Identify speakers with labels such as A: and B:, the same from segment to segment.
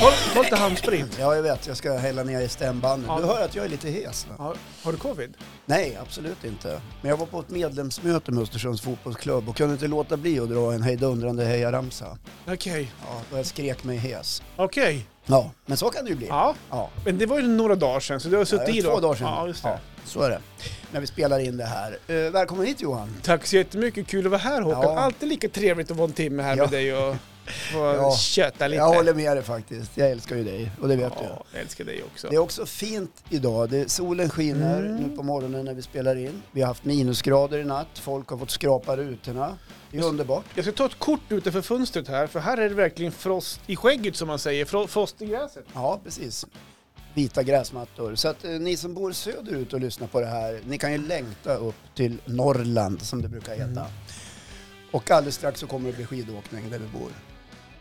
A: Håll, håll inte handsprit.
B: Ja, jag vet. Jag ska hälla ner i stämbanden.
A: Ja.
B: Du hör att jag är lite hes nu.
A: Har, har du covid?
B: Nej, absolut inte. Men jag var på ett medlemsmöte med Östersunds fotbollsklubb och kunde inte låta bli att dra en hejdundrande hejaramsa.
A: Okej.
B: Ja, och jag skrek mig hes.
A: Okej.
B: Ja, men så kan det ju bli.
A: Ja.
B: Ja.
A: Men det var ju några dagar sedan, så du har suttit
B: Ja,
A: i då?
B: Två dagar sedan.
A: Ja, just det.
B: så är det. När vi spelar in det här. Eh, välkommen hit Johan.
A: Tack så jättemycket, kul att vara här Håkan.
B: Ja.
A: Alltid lika trevligt att vara en timme här
B: Ja.
A: med dig och få
B: Ja.
A: köta lite.
B: Jag håller med dig faktiskt. Jag älskar ju dig och det vet du.
A: ja, jag älskar dig också.
B: Det är också fint idag. Det, solen skiner
A: Mm.
B: nu på morgonen när vi spelar in. Vi har haft minusgrader i natt. Folk har fått skrapa rutorna. Det är underbart.
A: Jag ska ta ett kort utanför fönstret här, för här är det verkligen frost i skägget som man säger, Fro- frost i gräset.
B: Ja, precis. Vita gräsmattor. Så att eh, ni som bor söderut och lyssnar på det här, ni kan ju längta upp till Norrland som det brukar heta.
A: Mm.
B: Och alldeles strax så kommer det bli skidåkning där vi bor.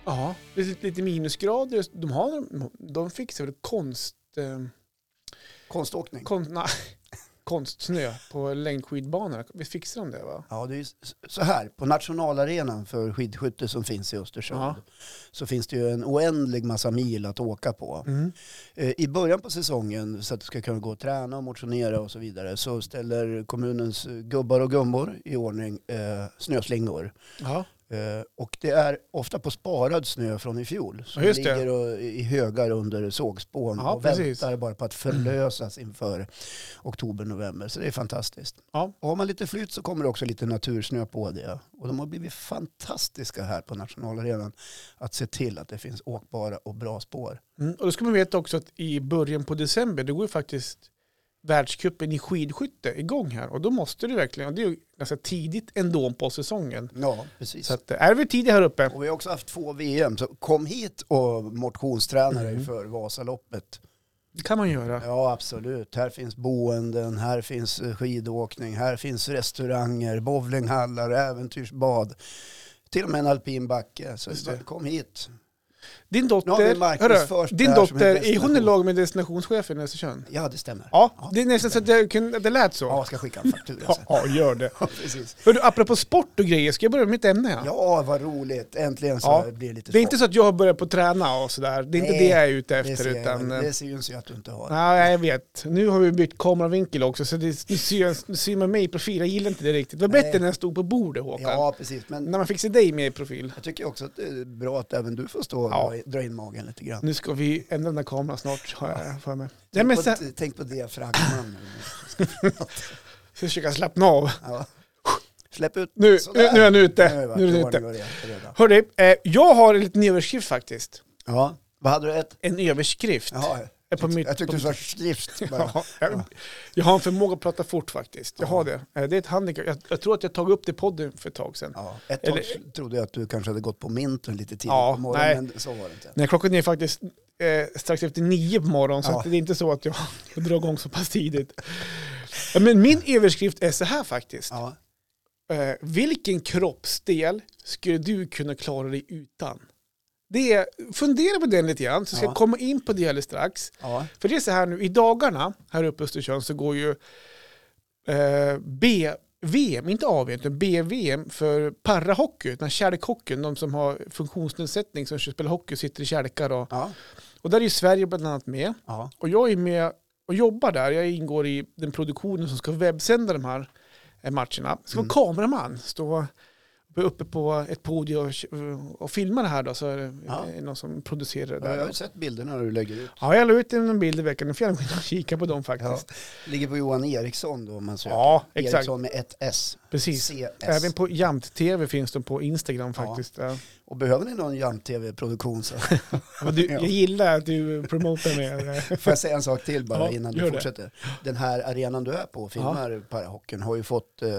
A: Ja. Det är lite lite minusgrader. De, har, de fixar väl konst... Eh,
B: Konståkning.
A: konst na, konstsnö på längdskidbanorna. Vi fixar de det va?
B: Ja, det är ju s- så här. På nationalarenan för skidskytte som finns i Östersund
A: Ja.
B: så finns det ju en oändlig massa mil att åka
A: Mm.
B: på. Eh, I början på säsongen, så att du ska kunna gå och träna och motionera och så vidare, så ställer kommunens eh, gubbar och gummor i ordning eh, snöslingor.
A: Ja.
B: Eh, och det är ofta på sparad snö från i fjol. Som
A: Ja, just det.
B: ligger och, i högar under sågspån
A: Ja,
B: och
A: precis.
B: väntar bara på att förlösas inför oktober-november. Så det är fantastiskt.
A: Ja.
B: Och har man lite flyt så kommer det också lite natursnö på det. Och de har blivit fantastiska här på nationalarenan att se till att det finns åkbara och bra spår.
A: Mm. Och då ska man veta också att i början på december, då går ju faktiskt världscupen i skidskytte igång här. Och då måste du verkligen, och det är ju ganska tidigt ändå på säsongen.
B: Ja, precis.
A: Så att, eh, är vi tidiga här uppe?
B: Och vi har också haft två VM, så kom hit och motionsträna dig
A: Mm.
B: för Vasaloppet.
A: Det kan man göra.
B: Ja, absolut. Här finns boenden, här finns eh, skidåkning, här finns restauranger, bowlinghallar, äventyrsbad. Till och med en alpin backe. Så
A: Just det.
B: kom hit.
A: Din
B: Nu har
A: dotter,
B: vi marknadsfört
A: hörru,
B: det
A: din
B: här som en
A: dotter, är hon i
B: destination.
A: lag med destinationschefen i Östersund?
B: Ja, det stämmer.
A: Ja, det är nästan så att det, kunde- det lät så.
B: Ja, jag ska skicka en faktura
A: Ja,
B: sen.
A: ja, gör det.
B: Ja, precis.
A: Hörru, apropå sport och grejer, ska jag börja med mitt ämne? här?
B: Ja, vad roligt. Äntligen så
A: Ja.
B: blir det lite
A: Det är inte så att jag har börjat på att träna och sådär. Det är inte
B: Nej,
A: det jag är ute
B: det
A: efter.
B: ser,
A: utan,
B: jag,
A: eh,
B: det ser ju inte att du inte har.
A: Nej, jag vet. Nu har vi bytt kameravinkel också, så det, nu, syr jag, nu syr man mig i profil. Jag gillar inte det riktigt. Det var
B: Nej.
A: bättre när jag stod på bordet, Håkan.
B: Ja, precis. Men
A: När man fick se dig med i profil.
B: jag tycker också att det är bra att även du får stå och
A: Ja.
B: dra i- dra in magen lite grann.
A: Nu ska vi ändra den där kameran snart, har jag för mig. Nej, men
B: tänk,
A: så,
B: på, tänk på diafragman.
A: försöka slappna av.
B: ja. Släpp ut.
A: Nu,
B: Sådär.
A: nu, nu är jag ute.
B: Nu är det
A: Nu är den
B: ordning
A: ute.
B: och reda- reda.
A: Hörru, eh, jag har en liten överskrift faktiskt.
B: Ja, vad hade du ett?
A: En överskrift.
B: Jaha,
A: Eh, på mitt,
B: jag tyckte
A: på
B: du sa skrift. bara.
A: Ja, jag, jag har en förmåga att prata fort faktiskt. Jag har det. Eh, Det är ett handikapp. Jag, jag tror att jag tagit upp det i podden för ett tag sedan.
B: Ja, ett tag
A: Eller-
B: trodde jag att du kanske hade gått på minten lite tidigt
A: Ja,
B: på morgonen,
A: nej.
B: men så var det inte.
A: Nej, klockan är faktiskt eh, strax efter nio på morgonen, så
B: Ja.
A: att det är inte så att jag drar igång så pass tidigt. Ja, Men min överskrift är så här faktiskt.
B: Ja.
A: Eh, vilken kroppsdel skulle du kunna klara dig utan? Det är, fundera på den lite grann, så ska
B: Ja.
A: jag komma in på det alldeles strax.
B: Ja.
A: För det är så här nu, i dagarna här uppe i Östersund så går ju eh, BVM, inte AV, utan BVM för parahockey, utan kärlekhockeyn, de som har funktionsnedsättning som spelar hockey och sitter i kärlekar. Och,
B: Ja.
A: och där är ju Sverige bland annat med.
B: Ja.
A: Och jag är med och jobbar där, jag ingår i den produktionen som ska webbsända de här eh, matcherna. Jag ska vara
B: Mm.
A: kameraman, stå uppe på ett podium och, och filma det här då, så är det
B: Ja.
A: eh, någon som producerar det
B: Ja,
A: där.
B: jag har ju sett bilderna när du lägger ut.
A: Ja, jag la ut en bild i veckan. Nu får jag gå in och kika på dem faktiskt.
B: Ligger på Johan Eriksson då om man söker.
A: Ja, exakt.
B: Eriksson med ett S.
A: Precis.
B: CS.
A: Även på Jamt-TV finns de på Instagram faktiskt. Ja.
B: Och behöver ni någon Jam-TV-produktion så
A: Och du,
B: Ja.
A: Jag gillar att du promotar mig.
B: får jag säga en sak till bara
A: Ja,
B: innan
A: gör
B: du
A: det.
B: fortsätter. Den här arenan du är på och filmar parahockeyn har ju fått eh,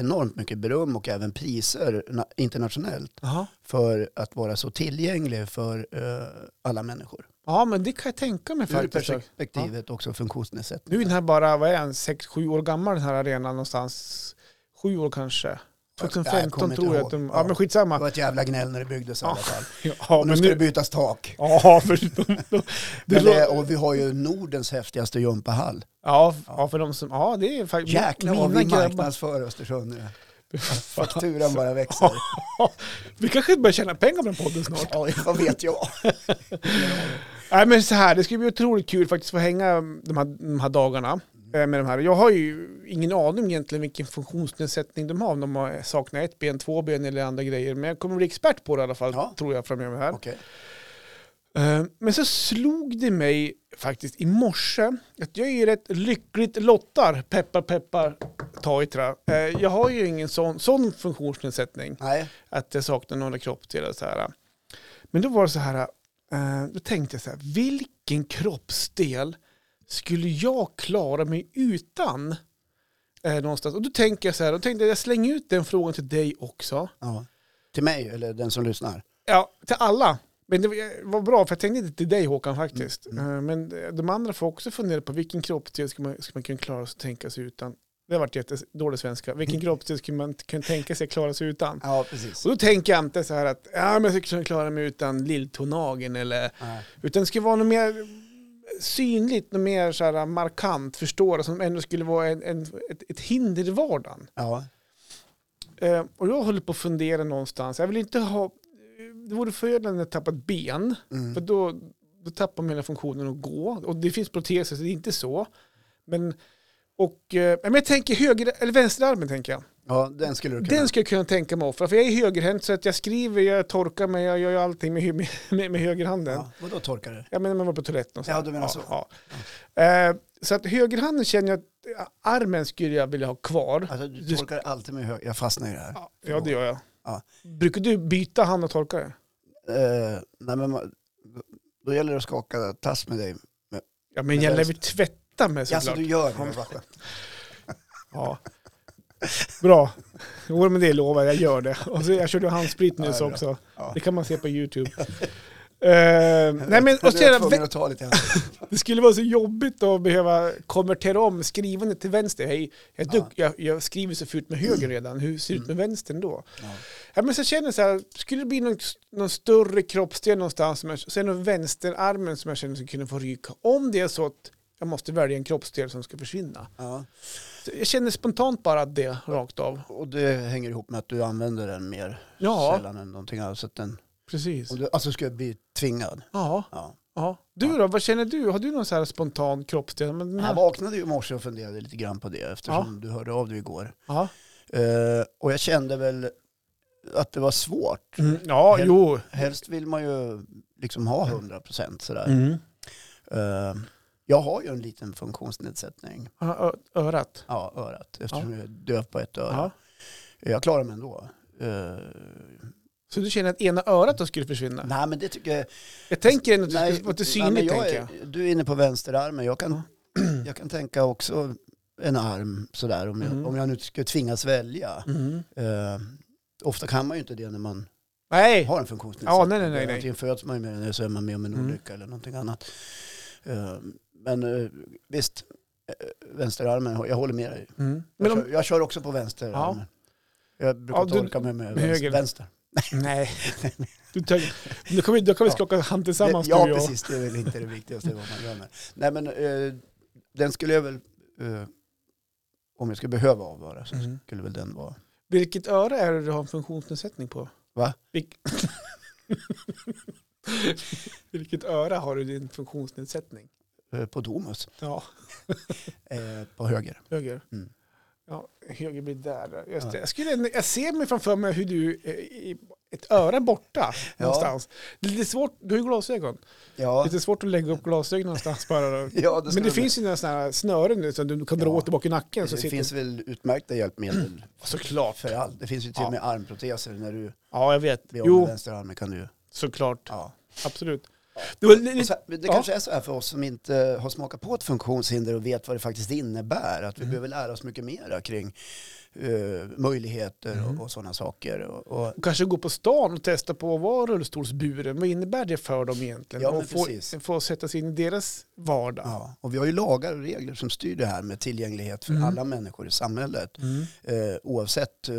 B: enormt mycket beröm och även priser na- internationellt
A: Jaha.
B: för att vara så tillgänglig för eh, alla människor.
A: Ja, men det kan jag tänka mig
B: Ur
A: faktiskt.
B: perspektivet också funktionsnedsättning.
A: Nu är den här bara, vad är den, 6-7 år gammal den här arenan någonstans. Sju år kanske.
B: Ja, jag
A: 2015
B: kommer
A: tror
B: inte
A: jag att de,
B: ihåg.
A: ja men
B: Det var
A: skitsamma.
B: ett jävla gnäll när det byggdes i alla fall.
A: Ja,
B: Och nu
A: men
B: ska det
A: nu,
B: bytas tak.
A: ja, för de, de, det
B: Men det,
A: lå-
B: och vi har ju Nordens häftigaste gympahall.
A: ja, ja, för de som, ja det är faktiskt
B: Jäklar vad
A: mina
B: vi
A: grabbar.
B: marknadsför Östersund nu. Fakturan bara växer.
A: Vi kanske börjar tjäna pengar på den podden snart.
B: Ja, vad vet jag?
A: Nej men så här, det ska bli otroligt kul faktiskt att få hänga de här, de här dagarna.
B: Mm.
A: eh, Med de här. Jag har ju ingen aning egentligen vilken funktionsnedsättning de har, om de har- saknar ett ben, två ben eller andra grejer. Men jag kommer bli expert på det i alla fall,
B: Ja.
A: tror jag framöver här.
B: Okej.
A: Eh, Men så slog det mig faktiskt i morse att jag är ju rätt lyckligt lottad, peppar peppar, ta i trä. Eh, Jag har ju ingen sån, sån funktionsnedsättning
B: Nej.
A: att jag saknar några kroppsdelar. Så här. Men då var det så här, eh, då tänkte jag så här, vilken kroppsdel skulle jag klara mig utan? Eh, någonstans. Och då tänker jag så här, då tänkte jag, jag slänger ut den frågan till dig också.
B: Ja. Till mig eller den som lyssnar?
A: Ja, till alla. Men det var- var bra, för jag tänkte inte till dig Håkan faktiskt. Eh, Men eh, de andra får också fundera på vilken kroppsdel ska man, ska man kunna klara sig och tänka sig utan. Det har varit jättedålig svenska. Vilken kroppsdel skulle man kunna tänka sig klara sig utan?
B: Ja, precis.
A: Och då tänker jag inte så här att ja, men jag ska kunna klara mig utan lilltånageln eller
B: Nej.
A: utan det ska vara något mer synligt, något mer så här markant, förstår du, som ändå skulle vara en, en, ett, ett hinder i vardagen.
B: Ja.
A: Eh, och jag håller på att fundera någonstans. Jag vill inte ha, det vore förödande att tappa ett ben,
B: Mm.
A: för då, då tappar man hela funktionen att gå. Och det finns proteser, så det är inte så. Men, och, eh, men jag tänker höger, eller vänsterarmen tänker jag.
B: ja, den skulle du kunna.
A: Den skulle jag kunna tänka mig att offra, för jag är högerhänt så att jag skriver, jag torkar mig, jag gör ju allting med, hu- med, med, med högerhanden.
B: ja. Vadå torkar du?
A: Jag menar man var på toaletten och så.
B: Ja, du menar så.
A: Ja, ja. Eh, så att högerhanden känner jag att eh, armen skulle jag vilja ha kvar.
B: Alltså, du torkar alltid med höger. Jag fastnar i det här.
A: Ja, ja det gör jag.
B: Ja.
A: Brukar du byta hand och torka det?
B: Eh, nej, men, man- då gäller det att skaka tass med dig.
A: Ja, men
B: Men
A: jag lär
B: vänster-
A: väl tvätta mig
B: Ja,
A: såklart.
B: alltså, du gör det. va?
A: Ja. Bra. Jo, men det lovar jag, jag gör det. Och så, jag körde handsprit
B: Ja,
A: nyss
B: det är bra.
A: också.
B: Ja.
A: Det kan man se på YouTube. Eh, nej, men, och
B: Jag var
A: sedan,
B: tvungen att ta lite här.
A: Det skulle vara så jobbigt att behöva konvertera om skrivandet till vänster. Hej, jag, duck, jag, jag skriver så fult med höger redan, hur ser det ut med vänstern då?
B: Mm. Ja.
A: Ja, men så känner jag så här, skulle det bli någon, någon större kroppsdel någonstans, som jag, så är det nog vänsterarmen som jag känner som kunde få ryka. Om det är så att jag måste välja en kroppsdel som ska försvinna.
B: Ja.
A: Så jag känner spontant bara det rakt av.
B: Och det hänger ihop med att du använder den mer
A: Ja,
B: sällan än någonting annat. Så att den,
A: precis.
B: om du, alltså ska jag bli tvingad.
A: Ja,
B: Ja.
A: ja. Du då, vad känner du? Har du någon så här spontan kroppsdel? Men den
B: Jag
A: här,
B: vaknade ju i morse och funderade lite grann på det eftersom du hörde av dig igår.
A: ja,
B: Eh, och jag kände väl att det var svårt.
A: mm, ja
B: Hel-
A: jo.
B: Helst vill man ju liksom ha 100 procent sådär.
A: Mm.
B: Eh, jag har ju en liten funktionsnedsättning.
A: Ja, ö- Örat.
B: Ja, örat. Eftersom jag är döv på ett öra.
A: Ja.
B: Jag klarar mig ändå. Eh,
A: Så du känner att ena örat då skulle försvinna?
B: nej, men det tycker jag...
A: Jag tänker ändå att det
B: nej,
A: skulle vara lite
B: nej, men
A: synligt,
B: jag
A: tänker
B: är-
A: jag.
B: Du är inne på vänsterarmen. Jag kan, jag kan tänka också en arm sådär om jag,
A: Mm.
B: om jag nu skulle tvingas välja.
A: Mm.
B: Eh, ofta kan man ju inte det när man
A: Nej,
B: har en funktionsnedsättning.
A: Ja, nej, nej, nej, nej.
B: Antingen föds man ju med den eller så är man med om en
A: Mm.
B: olycka eller någonting annat. Eh, Men eh, visst, eh, vänsterarmen, jag håller med dig.
A: mm.
B: Jag,
A: men om,
B: kör, jag kör också på vänsterarmen. Jag brukar
A: Ja, du-
B: torka mig med
A: med höger.
B: vänster. vänster.
A: nej. Du tänker, nu kan vi, då kan vi
B: Ja.
A: skaka hand tillsammans
B: ja,
A: du och jag.
B: precis. Det är väl inte det viktigaste vad man gör med. Nej, men eh, den skulle jag väl, eh, om jag skulle behöva avvara så
A: Mm.
B: skulle väl den vara.
A: Vilket öra är det du har en funktionsnedsättning på?
B: Va?
A: Vilk... Vilket öra har du din funktionsnedsättning?
B: eh, På Domus,
A: Ja,
B: eh, på höger.
A: höger.
B: Mm.
A: Ja, höger blir där. Just det.
B: Ja.
A: Jag, skulle, jag ser mig framför mig hur du, eh, i- ett öra borta
B: Ja.
A: någonstans. Det är lite svårt, du har ju glasögon.
B: Ja,
A: Lite svårt att lägga upp glasögon någonstans bara.
B: ja det
A: Men
B: skulle
A: det
B: jag-
A: finns ju några sådana här snören nu som du kan dra
B: Ja.
A: åt tillbaka i nacken. Så
B: Det
A: sitter...
B: finns väl utmärkta hjälpmedel
A: Såklart.
B: för allt. Det finns ju till och med armproteser när du
A: Ja, jag vet.
B: blir av med
A: Jo,
B: vänsterarmen. Kan du,
A: såklart.
B: ja.
A: Absolut. Det var li-
B: Och
A: lite...
B: så, men det
A: Ja.
B: kanske är så här för oss som inte har smakat på ett funktionshinder och vet vad det faktiskt innebär.
A: Mm.
B: Att vi behöver lära oss mycket mera kring eh, möjligheter
A: Mm.
B: och, och sådana saker. Och, och,
A: Kanske gå på stan och testa på att vara rullstolsburen. Vad innebär det för dem egentligen?
B: Ja, men
A: och få,
B: precis.
A: få sätta sig in i deras vardag.
B: ja. och vi har ju lagar och regler som styr det här med tillgänglighet för
A: Mm.
B: alla människor i samhället.
A: Mm.
B: Eh, oavsett eh,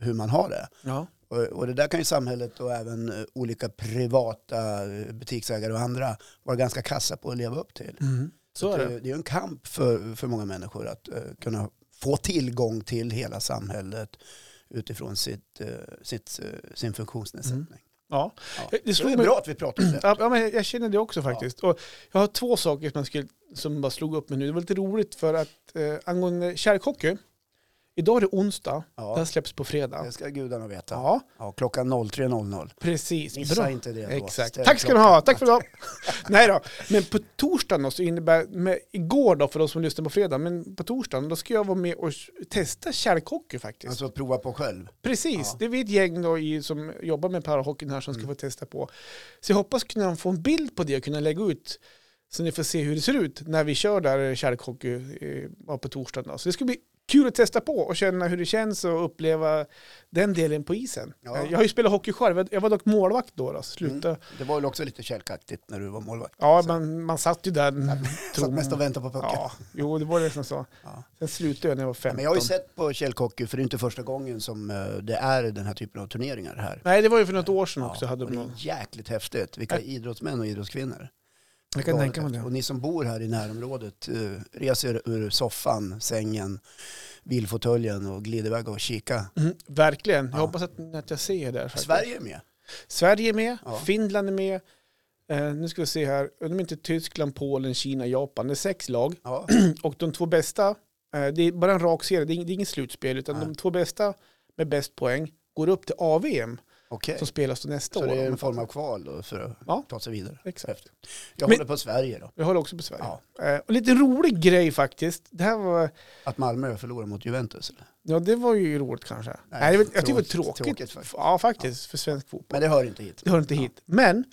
B: hur man har det.
A: Ja.
B: Och, och det där kan ju samhället och även eh, olika privata eh, butiksägare och andra vara ganska kassa på att leva upp till.
A: Mm. Så är
B: det,
A: det.
B: är ju en kamp för, för många människor att eh, kunna få tillgång till hela samhället utifrån sitt, eh, sitt, eh, sin funktionsnedsättning.
A: Ja.
B: Ja.
A: Mm. Eh, Det
B: Så det
A: slog
B: är
A: mig,
B: bra att vi pratar om det.
A: ja, ja, men jag känner det också faktiskt. Och jag har två saker som, jag skulle, som bara slog upp mig nu. Det var lite roligt för att eh, angående kärlekhockey, idag är det onsdag, det här
B: Ja,
A: släpps på fredag.
B: det ska gudarna veta. Ja.
A: Ja,
B: klockan 03.00.
A: precis.
B: Missa
A: Bra.
B: inte det då.
A: Exakt.
B: Ställ
A: Tack ska du
B: klockan.
A: ha. Tack för idag. Nej då. Men på torsdagen då så innebär, med, igår då för de som lyssnar på fredag, men på torsdagen då ska jag vara med och testa kärlekhockey faktiskt.
B: Alltså prova på själv.
A: Precis,
B: Ja. Mm.
A: det är vi ett gäng då i, som jobbar med parahockeyn här som ska få testa på. Så jag hoppas kunna få en bild på det och kunna lägga ut så ni får se hur det ser ut när vi kör där kärlekhockey eh, ja, på torsdagen. Då. Så det ska bli kul att testa på och känna hur det känns och uppleva den delen på isen.
B: Ja. Mm.
A: Eh, Jag har ju spelat hockey själv, jag var dock målvakt då. då. så Sluta.
B: Det var väl också lite kälkaktigt när du var målvakt.
A: Ja,
B: Så- Mm.
A: man, man satt ju där.
B: Satt mest och väntade på pucken.
A: ja, jo, det var nästan så.
B: Ja.
A: Sen slutade jag när jag var 15.
B: Men jag har ju sett på kälkhockey, för det är inte första gången som eh, det är den här typen av turneringar här.
A: Nej, det var ju för något år sedan
B: Ja,
A: också. hade
B: och
A: de
B: det
A: någon.
B: är jäkligt häftigt. Vilka idrottsmän och idrottskvinnor.
A: Jag kan tänka mig det.
B: Och ni som bor här i närområdet, eh, res er ur soffan, sängen, bilfåtöljen och glid iväg och kika.
A: Mm, verkligen. Jag
B: Ja.
A: hoppas att, att jag ser er där. faktiskt.
B: Sverige är med.
A: Sverige är med,
B: Ja.
A: Finland är med. Eh, nu ska vi se här, undrar om inte Tyskland, Polen, Kina, Japan. Det är sex lag.
B: Ja,
A: Och de två bästa, eh, det är bara en rak serie, det är, ing- det är inget slutspel, utan
B: Nej.
A: de två bästa med bäst poäng går upp till AVM
B: okej.
A: som spelas då nästa
B: Eh. Så
A: år.
B: det är en form av kval då för att
A: Ja.
B: ta sig vidare.
A: Exakt.
B: Jag
A: Men-
B: håller på Sverige då.
A: Jag håller också på Sverige.
B: Ja.
A: Eh, och lite rolig grej faktiskt. Det här var,
B: Att Malmö förlorar mot Juventus. Eller?
A: ja, det var ju roligt kanske. Nej, det var- jag tycker det var tråkigt.
B: tråkigt faktiskt.
A: Ja, faktiskt. För svensk fotboll.
B: Men det hör inte hit.
A: Det hör inte
B: Ja.
A: hit. Men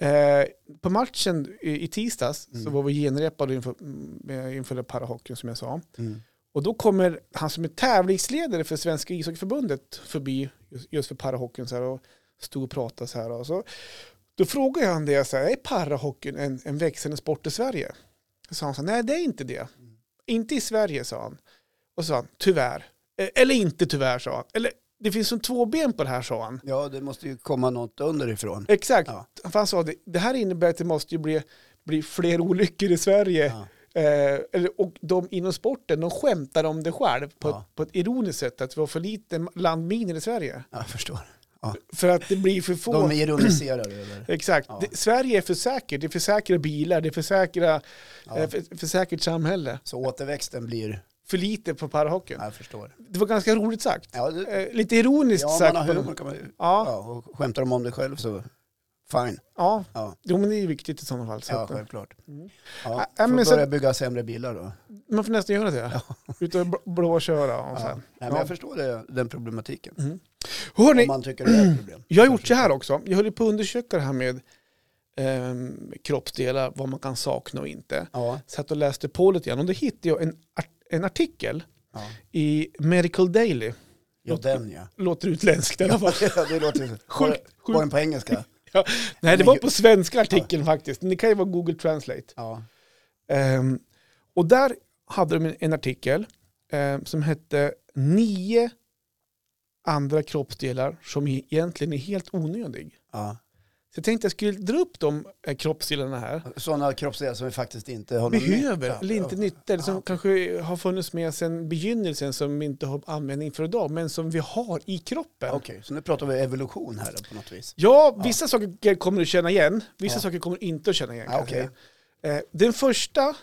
A: eh, på matchen i, i tisdags så
B: Mm.
A: var vi genrepade inför, mm, eh, inför den parahockeyn som jag sa.
B: Mm.
A: Och då kommer han som är tävlingsledare för Svenska ishockeyförbundet förbi just, just för parahockeyn så här och stod och pratade så här. Och så, då frågade jag han det, så här, är parahockeyn en, en växande sport i Sverige? Då sa han så här, nej det är inte det. Inte i Sverige, sa han. Och så sa han, tyvärr. Eh, Eller inte tyvärr, sa han. Eller det finns som två ben på det här, sa han.
B: Ja, det måste ju komma något underifrån.
A: Exakt.
B: Ja.
A: För han sa det, det här innebär att det måste ju bli, bli fler olyckor i Sverige.
B: Ja.
A: Eh, eller- och de inom sporten, de skämtar om det själv på,
B: Ja.
A: ett, på ett ironiskt sätt, att vi har för lite landminer i Sverige.
B: Ja, jag förstår.
A: För att det blir för få.
B: De ironiserar över.
A: Exakt.
B: Ja.
A: Det, Sverige är för säkert. Det är för säkra bilar, det är för, säkra,
B: Ja.
A: eh, för, för säkert samhälle.
B: Så återväxten blir,
A: För lite på parahockeyn.
B: ja, jag förstår.
A: Det var ganska roligt sagt.
B: Ja, det,
A: Eh, lite ironiskt
B: ja
A: sagt.
B: man har
A: på-
B: humor kan man ju.
A: Ja,
B: Ja, och skämtar de om det själv så fine.
A: ja.
B: Ja,
A: Jo, men det är viktigt i sådana fall. Så
B: ja
A: att, eh,
B: självklart.
A: Mm.
B: Ja,
A: Ja,
B: får
A: men
B: börja
A: så-
B: bygga sämre bilar då.
A: man får nästan göra det. Ut och bl- blåköra och så
B: Ja.
A: här.
B: Nej, men jag förstår det, den problematiken. Om
A: Hörni,
B: man tycker det är ett problem.
A: jag har gjort så här också. Jag höll ju på att undersöka det här med ehm, kroppsdelar, vad man kan sakna och inte.
B: Ja,
A: Satt och läste på lite grann och då hittade jag en, art- en artikel
B: ja.
A: i Medical Daily.
B: ja den ja.
A: Låter utländskt i alla fall.
B: det låter
A: Sjukt,
B: Var- Var den på engelska?
A: Nej, det
B: men
A: var
B: ju-
A: på svenska artikeln faktiskt. Men Det kan ju vara Google Translate.
B: Ja.
A: Ehm, och där hade de en, en artikel ehm, som hette Nio andra kroppsdelar som e- egentligen är helt onödig.
B: ja.
A: Så jag tänkte jag skulle dra upp de eh, kroppsdelarna här.
B: Sådana kroppsdelar som vi faktiskt inte har någon
A: Behöver,
B: nytta
A: eller inte
B: av.
A: nytta, eller som kanske har funnits med sedan begynnelsen som vi inte har användning för idag, men som vi har i kroppen.
B: Okej, så nu pratar vi evolution här då, på något vis.
A: Ja, vissa saker kommer du känna igen, vissa
B: Ja.
A: saker kommer du inte att känna igen.
B: Ja,
A: kan jag
B: okej.
A: säga. Eh, Den första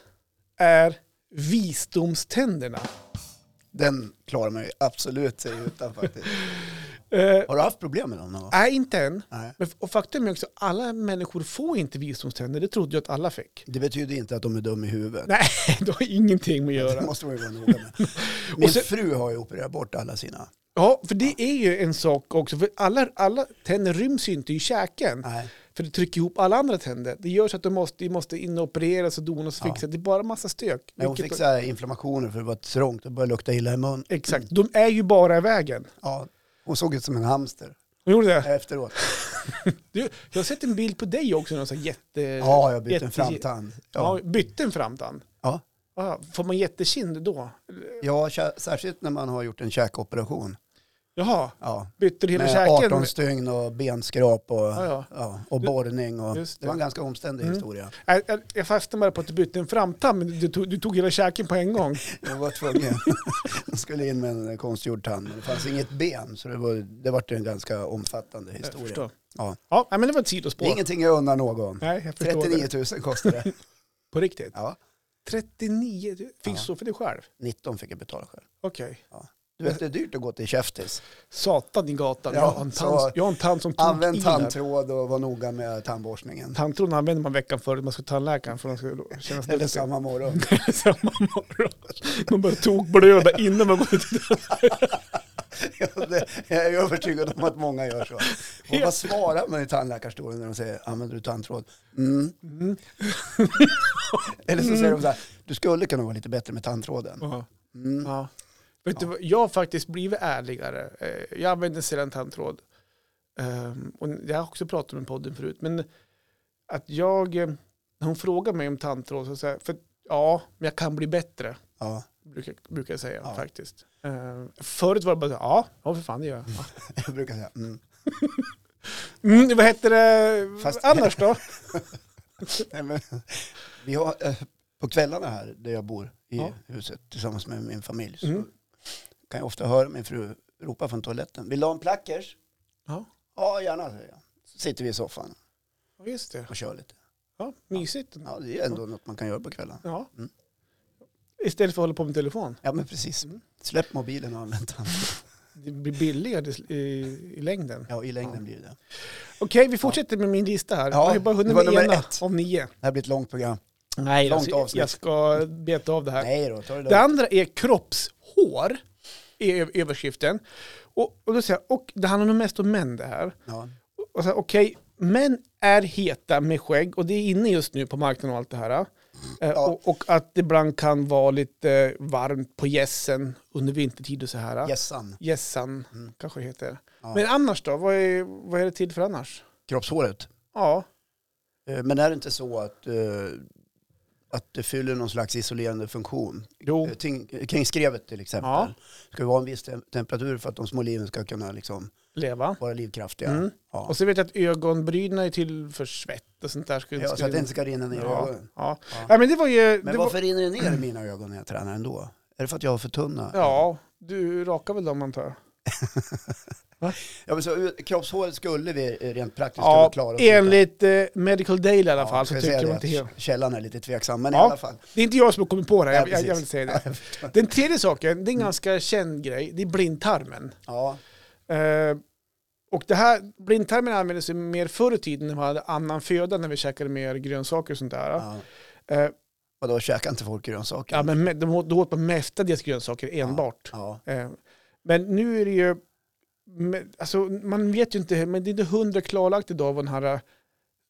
A: är visdomständerna.
B: Den klarar man ju absolut sig utan faktiskt.
A: Eh,
B: Har du haft problem med dem någon gång?
A: Nej, inte än.
B: Nej.
A: Men, f- och faktum är också att alla människor får inte visdomständer. Det trodde jag att alla fick.
B: Det betyder inte att de är dumma i huvudet.
A: Nej, det har ingenting med att
B: Det
A: göra.
B: måste man ju vara noga med. Min
A: sen-
B: fru har ju opererat bort alla sina.
A: Ja, för det är ju en sak också. För alla, alla tänder ryms ju inte i käken.
B: Nej.
A: För det trycker ihop alla andra tänder. Det gör så att de måste, de måste inopereras och donas och
B: Ja.
A: fixas. Det är bara massa stök.
B: Men hon
A: Vilket-
B: fick så här inflammationer för det var trångt och började lukta illa i mun.
A: Exakt, de är ju bara i vägen.
B: Ja, hon såg ut som en hamster
A: Hon gjorde det?
B: efteråt.
A: Du, jag har sett en bild på dig också. Någon sån här jätte...
B: Ja, jag bytte en
A: jätte-
B: framtand.
A: Ja.
B: Ja.
A: bytte en framtand.
B: Ja.
A: Ja, får man jättekind då?
B: Ja, kä- särskilt när man har gjort en käkoperation.
A: Jaha,
B: Ja,
A: bytte du hela
B: med
A: käken?
B: 18 stygn och benskrap och,
A: Ja,
B: ja,
A: ja.
B: och borrning. Och,
A: Just
B: det
A: det.
B: var en ganska omständig
A: Mm.
B: historia.
A: Jag, jag, jag fastnade bara på att du bytte en framtand, men du tog, du tog hela käken på en gång.
B: Jag var tvungen. Jag skulle in med en konstgjord tand, men det fanns inget ben. Så det var, det var en ganska omfattande
A: Jag
B: historia.
A: förstår.
B: Ja.
A: Ja, nej, men det var ett
B: Det
A: sidospår.
B: är ingenting jag undrar någon.
A: Nej, jag förstår
B: 39
A: det.
B: 000 kostar det.
A: På riktigt?
B: Ja,
A: 39? Du Fick
B: Ja.
A: du stå för dig själv?
B: 19 fick jag betala själv.
A: Okej.
B: Du vet, det är dyrt att gå till käftis.
A: Satan i gatan.
B: Ja,
A: jag, har en
B: så-
A: tand, jag har en tand som tog
B: Använd
A: i där.
B: tandtråd och var noga med tandborstningen.
A: Tandtråden använder man veckan före man ska till tandläkaren för att man ska känna sig
B: Eller
A: duktig.
B: samma morgon.
A: samma morgon. Man bara tog blöda innan man går ut.
B: Ja, det- Jag är övertygad om att många gör så. Och vad svarar man i tandläkarstolen när de säger använder du tandtråd? Mm.
A: Mm.
B: Eller så säger de så här, du skulle kunna vara lite bättre med tandtråden.
A: Ja.
B: Mm.
A: Ja. Vet du, vad, jag har faktiskt blivit ärligare. Eh, Jag använder sällan tandtråd. Ehm, Och jag har också pratat om i podden förut. Men att jag, eh, när hon frågar mig om tandtråd så säger jag, för att, ja, men jag kan bli bättre.
B: Ja.
A: Brukar, brukar jag säga
B: Ja.
A: faktiskt. Ehm, Förut var det bara så här, ja, ja för fan det gör jag.
B: Jag brukar säga, mm.
A: Mm, vad heter det
B: Fast-
A: annars då?
B: Nej, men, vi har, eh, på kvällarna här där jag bor i
A: Ja.
B: huset tillsammans med min familj så
A: Mm.
B: kan jag ofta höra min fru ropa från toaletten. Vill du ha en plackers?
A: Ja.
B: Ja, gärna säger jag. Så sitter vi i soffan
A: Ja, just det.
B: och kör lite.
A: Ja, mysigt.
B: Ja, det är ändå något man kan göra på kvällen.
A: Ja.
B: Mm.
A: Istället för att hålla på med telefon.
B: Ja, men precis.
A: Mm.
B: Släpp mobilen och använd den.
A: Det blir billigare i, i längden.
B: Ja, i längden blir det.
A: Okej, vi fortsätter med min lista här.
B: Ja,
A: jag har ju bara
B: det
A: hunnit
B: var
A: med
B: nummer
A: ena
B: ett.
A: av nio.
B: Det här blir ett långt program.
A: Nej,
B: Långt
A: jag,
B: avsnitt.
A: jag ska beta av det här.
B: Nej då, ta det
A: Det
B: lugnt.
A: andra är kroppshår, är ö- överskriften. Och, och, då säger jag, och det handlar nog mest om män det här.
B: Ja.
A: och så här, okej, män är heta med skägg och det är inne just nu på marknaden och allt det här. Eh,
B: Ja.
A: och, och att det ibland kan vara lite eh, varmt på gässen under vintertid och så här. eh,
B: Gässan,
A: Gässan
B: Mm.
A: kanske det heter.
B: Ja.
A: Men annars då, vad är, vad är det till för annars?
B: kroppshåret.
A: Ja,
B: Eh, Men är det inte så att, eh, att det fyller någon slags isolerande funktion?
A: jo,
B: Eh, ting- Kring skrevet till exempel.
A: Ja.
B: Ska det vara en viss tem- temperatur för att de små liven ska kunna liksom
A: leva.
B: vara livskraftiga?
A: Mm.
B: Ja.
A: Och så vet jag att ögonbrynen är till för svett och sånt där. Skulle,
B: Ja, så att det
A: skulle-
B: inte ska rinna ner i
A: ja,
B: ögonen.
A: ja.
B: Ja.
A: Nej, men det var ju...
B: Men
A: det
B: varför
A: var,
B: rinner det ner i mina ögon när jag tränar ändå? Är det för att jag har för tunna?
A: ja, du rakar väl dem antar jag?
B: ja men så, ut- kroppshåret skulle vi eh, rent praktiskt kunna
A: Ja,
B: klara oss utan.
A: enligt eh, Medical Daily i alla
B: Ja,
A: fall
B: ska
A: så
B: jag
A: tycker
B: säga
A: jag
B: det
A: att
B: att
A: det är...
B: Källan är lite tveksam, men i
A: Ja.
B: alla fall.
A: Det är inte jag som har kommit på det här,
B: Ja,
A: jag, jag, jag
B: precis.
A: vill säga
B: Ja,
A: det.
B: jag förstår. Mm.
A: Den tredje saken, det är en ganska känd grej, det är blindtarmen.
B: Ja,
A: Eh, och det här, blindtarmen användes ju mer förr i tiden när man hade annan föda, när vi käkade mer grönsaker och sånt där.
B: ja.
A: Eh,
B: Vadå, käkar inte folk grönsaker?
A: ja, men me- de åt, då åt man mestadels grönsaker enbart.
B: Ja.
A: Eh, men nu är det ju, men, alltså, man vet ju inte, men det är inte hundra klarlagt idag vad den här eh,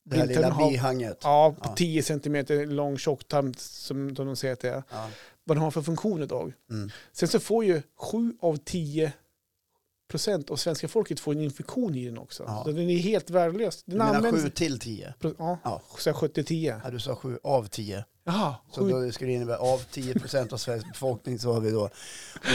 B: Det här
A: blindtarmen
B: lilla
A: har
B: bihanget.
A: Ja, på
B: Ja.
A: 10 centimeter lång tjocktarm som som de säger att det är.
B: Ja.
A: Vad den har för funktion idag.
B: Mm.
A: Sen så får ju 7 av 10 procent av svenska folket får en infektion i den också.
B: Ja.
A: Så den är helt värdelös.
B: Du
A: Den
B: menar
A: används...
B: 7 till 10?
A: Pro- Ja,
B: Ja.
A: så här 70-10.
B: Ja, du sa 7 av 10.
A: Jaha,
B: Så
A: sju-
B: då skulle det innebära av 10 procent av Sveriges befolkning så har vi då, och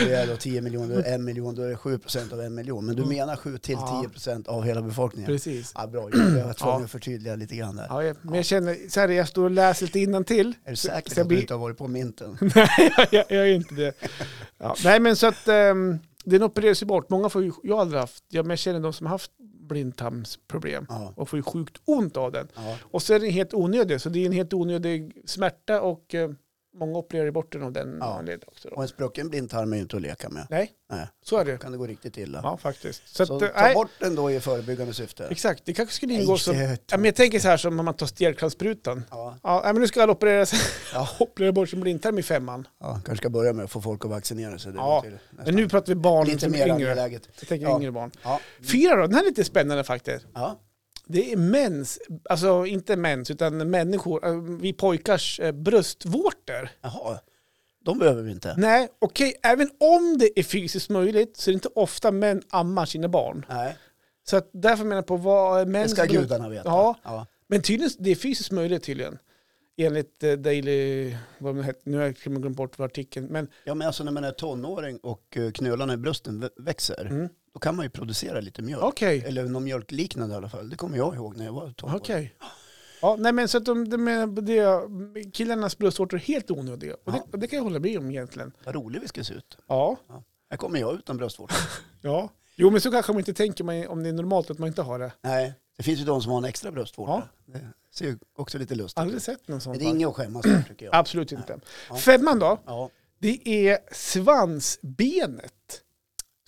B: det är då 10 miljoner, 1 miljon, då är det 7 procent av 1 miljon. Men du
A: Mm.
B: menar 7 till
A: Ja.
B: 10 procent av hela befolkningen?
A: precis.
B: Ja, bra, jag var tvungen
A: Ja.
B: att förtydliga lite grann där.
A: Ja, jag, men jag känner, så här, jag står och läser lite innantill.
B: Är du säker
A: Så jag
B: på att du
A: blir-
B: inte har varit på minten?
A: Nej, jag, jag, jag är inte det. Ja. Nej, men så att ehm, den opereras ju bort. Många får ju, jag har aldrig haft, ja, men jag känner de som har haft blindtarmsproblem
B: Ja.
A: och får ju sjukt ont av den.
B: Ja.
A: Och så är den helt onödig, så det är en helt onödig smärta och eh, många opererar bort den av den
B: Ja.
A: anledningen också. Då.
B: Och en sprucken blindtarm är ju inte att leka med.
A: Nej,
B: Nej.
A: så är det.
B: Kan det gå riktigt illa.
A: Ja, faktiskt. Så,
B: Så
A: att, eh,
B: ta
A: nej,
B: bort den då i förebyggande syfte.
A: exakt, det kanske skulle
B: Nej,
A: ingå som...
B: det-
A: Ja, men jag tänker så här som om man tar stelkrampssprutan.
B: Ja,
A: Ja, nej, men nu ska alla operera, sig-
B: Ja.
A: operera bort sin blindtarm i femman.
B: ja, kanske ska börja med att få folk att vaccinera sig. Det
A: Ja,
B: låter nästan
A: Men nu pratar vi barn
B: lite
A: som
B: mer
A: är yngre.
B: angeläget.
A: Jag tänker
B: Ja.
A: yngre barn.
B: Ja.
A: Fyra då, den här är lite spännande faktiskt.
B: Ja.
A: Det är mäns, alltså inte mäns, utan människor, eh, vi pojkars eh, bröstvårtor.
B: Jaha, de behöver vi inte.
A: Nej, okej, även om det är fysiskt möjligt så är det inte ofta män ammar sina barn.
B: Nej,
A: Så att därför menar jag på vad är
B: det
A: mäns...
B: ska
A: bröst-
B: gudarna veta.
A: Ja.
B: Ja.
A: Men tydligen, det är fysiskt möjligt tydligen. Enligt eh, Daily, vad den heter, nu har jag glömt bort vad artikeln, men
B: ja, men alltså när man är tonåring och eh, knölarna i brösten vä- växer,
A: Mm.
B: Då kan man ju producera lite mjölk.
A: Okej.
B: Eller någon mjölkliknande i alla fall. Det kommer jag ihåg när jag var tonåring.
A: Okej. Ja, nej men så att de, de, de, killarnas bröstvårtor är helt onödiga. Och det,
B: Ja.
A: och det kan jag hålla med om egentligen.
B: Vad rolig vi skulle se ut.
A: Ja,
B: Här kommer jag utan bröstvårta.
A: ja. Jo, men så kanske man inte tänker man- om det är normalt att man inte har det.
B: Nej, det finns ju de som har en extra bröstvårta.
A: Ja.
B: Det ser ju också lite lustigt
A: Aldrig
B: ut.
A: sett någon sån.
B: Men det är
A: fall.
B: inget att skämmas för tycker jag.
A: Absolut inte.
B: Ja.
A: Femman då?
B: Ja.
A: Det är svansbenet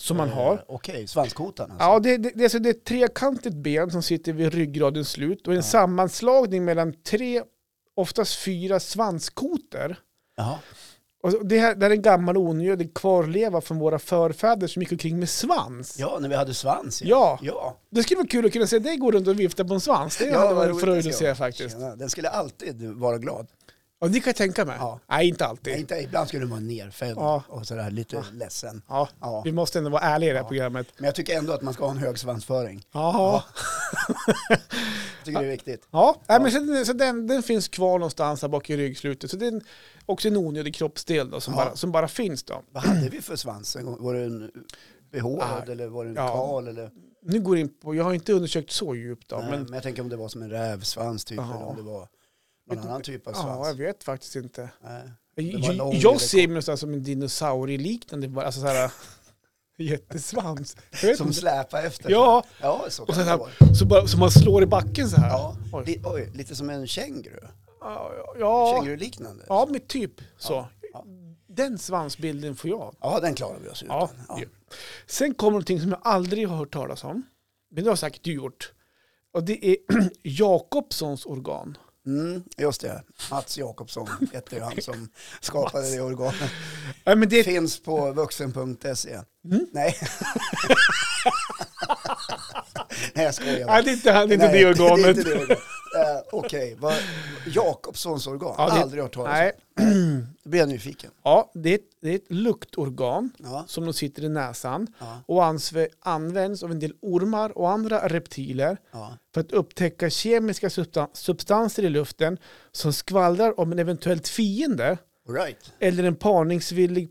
A: som man har.
B: Eh, Okej, svanskotan alltså.
A: Ja, det, det, det, är alltså, det är ett trekantigt ben som sitter vid ryggradens slut och en
B: Ja.
A: sammanslagning mellan tre, oftast fyra svanskotor.
B: Jaha.
A: Och det, här, det här är en gammal onödig kvarleva från våra förfäder som gick omkring med svans.
B: Ja, när vi hade svans.
A: Ja.
B: ja.
A: Det skulle vara kul att kunna se dig gå runt och vifta på en svans. Det
B: Ja,
A: hade
B: vad
A: varit
B: roligt
A: fröjd
B: det
A: att
B: ska
A: se
B: vara.
A: faktiskt.
B: Tjena, Den skulle alltid vara glad.
A: Ja, det kan jag tänka mig.
B: Ja.
A: Nej, inte alltid.
B: Nej, inte, ibland skulle den vara nerfälld
A: Ja.
B: och sådär lite ledsen.
A: Ja,
B: Ja.
A: Vi måste ändå vara ärliga i det här
B: Ja.
A: programmet.
B: Men jag tycker ändå att man ska ha en hög svansföring.
A: Ja,
B: Jag tycker det är viktigt.
A: ja. Nej, men så, så den, den finns kvar någonstans här bak i ryggslutet. Så det är en, också en onödig kroppsdel då, som,
B: Ja.
A: bara, som bara finns. Då.
B: Vad hade vi för svans? en gång? Var det en behårad
A: Ah.
B: eller var det en
A: Ja.
B: kal? Eller?
A: Nu går jag in på, jag har inte undersökt så djupt. Då,
B: Nej,
A: men,
B: men jag tänker om det var som en rävsvans typ
A: Ja.
B: eller om det var någon
A: Vet-
B: annan typ av
A: ja, jag
B: svans.
A: vet faktiskt inte.
B: Nej. Det var
A: Jag,
B: lång eller
A: jag ser mig
B: kort.
A: nästan som en dinosaurie-liknande, bara, alltså så här jättesvans. Jag vet
B: Som
A: inte.
B: släpar efter.
A: Ja,
B: ja så
A: och
B: kan
A: så,
B: det vara.
A: här, så, bara, så man slår i backen så här.
B: Ja,
A: Oj.
B: li, oj, lite som en känguru.
A: Ja, ja,
B: Känguru-liknande.
A: ja men typ så.
B: Ja.
A: Den svansbilden får jag.
B: Ja, den klarar vi oss utan.
A: Ja.
B: Ja.
A: Sen kommer någonting som jag aldrig har hört talas om, men det har säkert du gjort. Och det är Jakobssons organ.
B: Mm, just det. Mats Jakobsson hette ju han som skapade det organet.
A: Nej, men det Mm. är
B: Finns på vuxen.se. Nej. Nej, jag skojar.
A: Nej, det är inte, det, är inte
B: Nej,
A: det organet.
B: det är inte det organet. Eh, Okej, vad- Jakobssons organ.
A: Ja, det-
B: Aldrig hört talas om.
A: Nej.
B: Då blir jag nyfiken.
A: Ja, det är, ett, det är ett luktorgan
B: Ja.
A: som de sitter i näsan
B: Ja.
A: och ansv- används av en del ormar och andra reptiler
B: Ja.
A: för att upptäcka kemiska substan- substanser i luften som skvallrar om en eventuellt fiende
B: All right.
A: eller en parningsvillig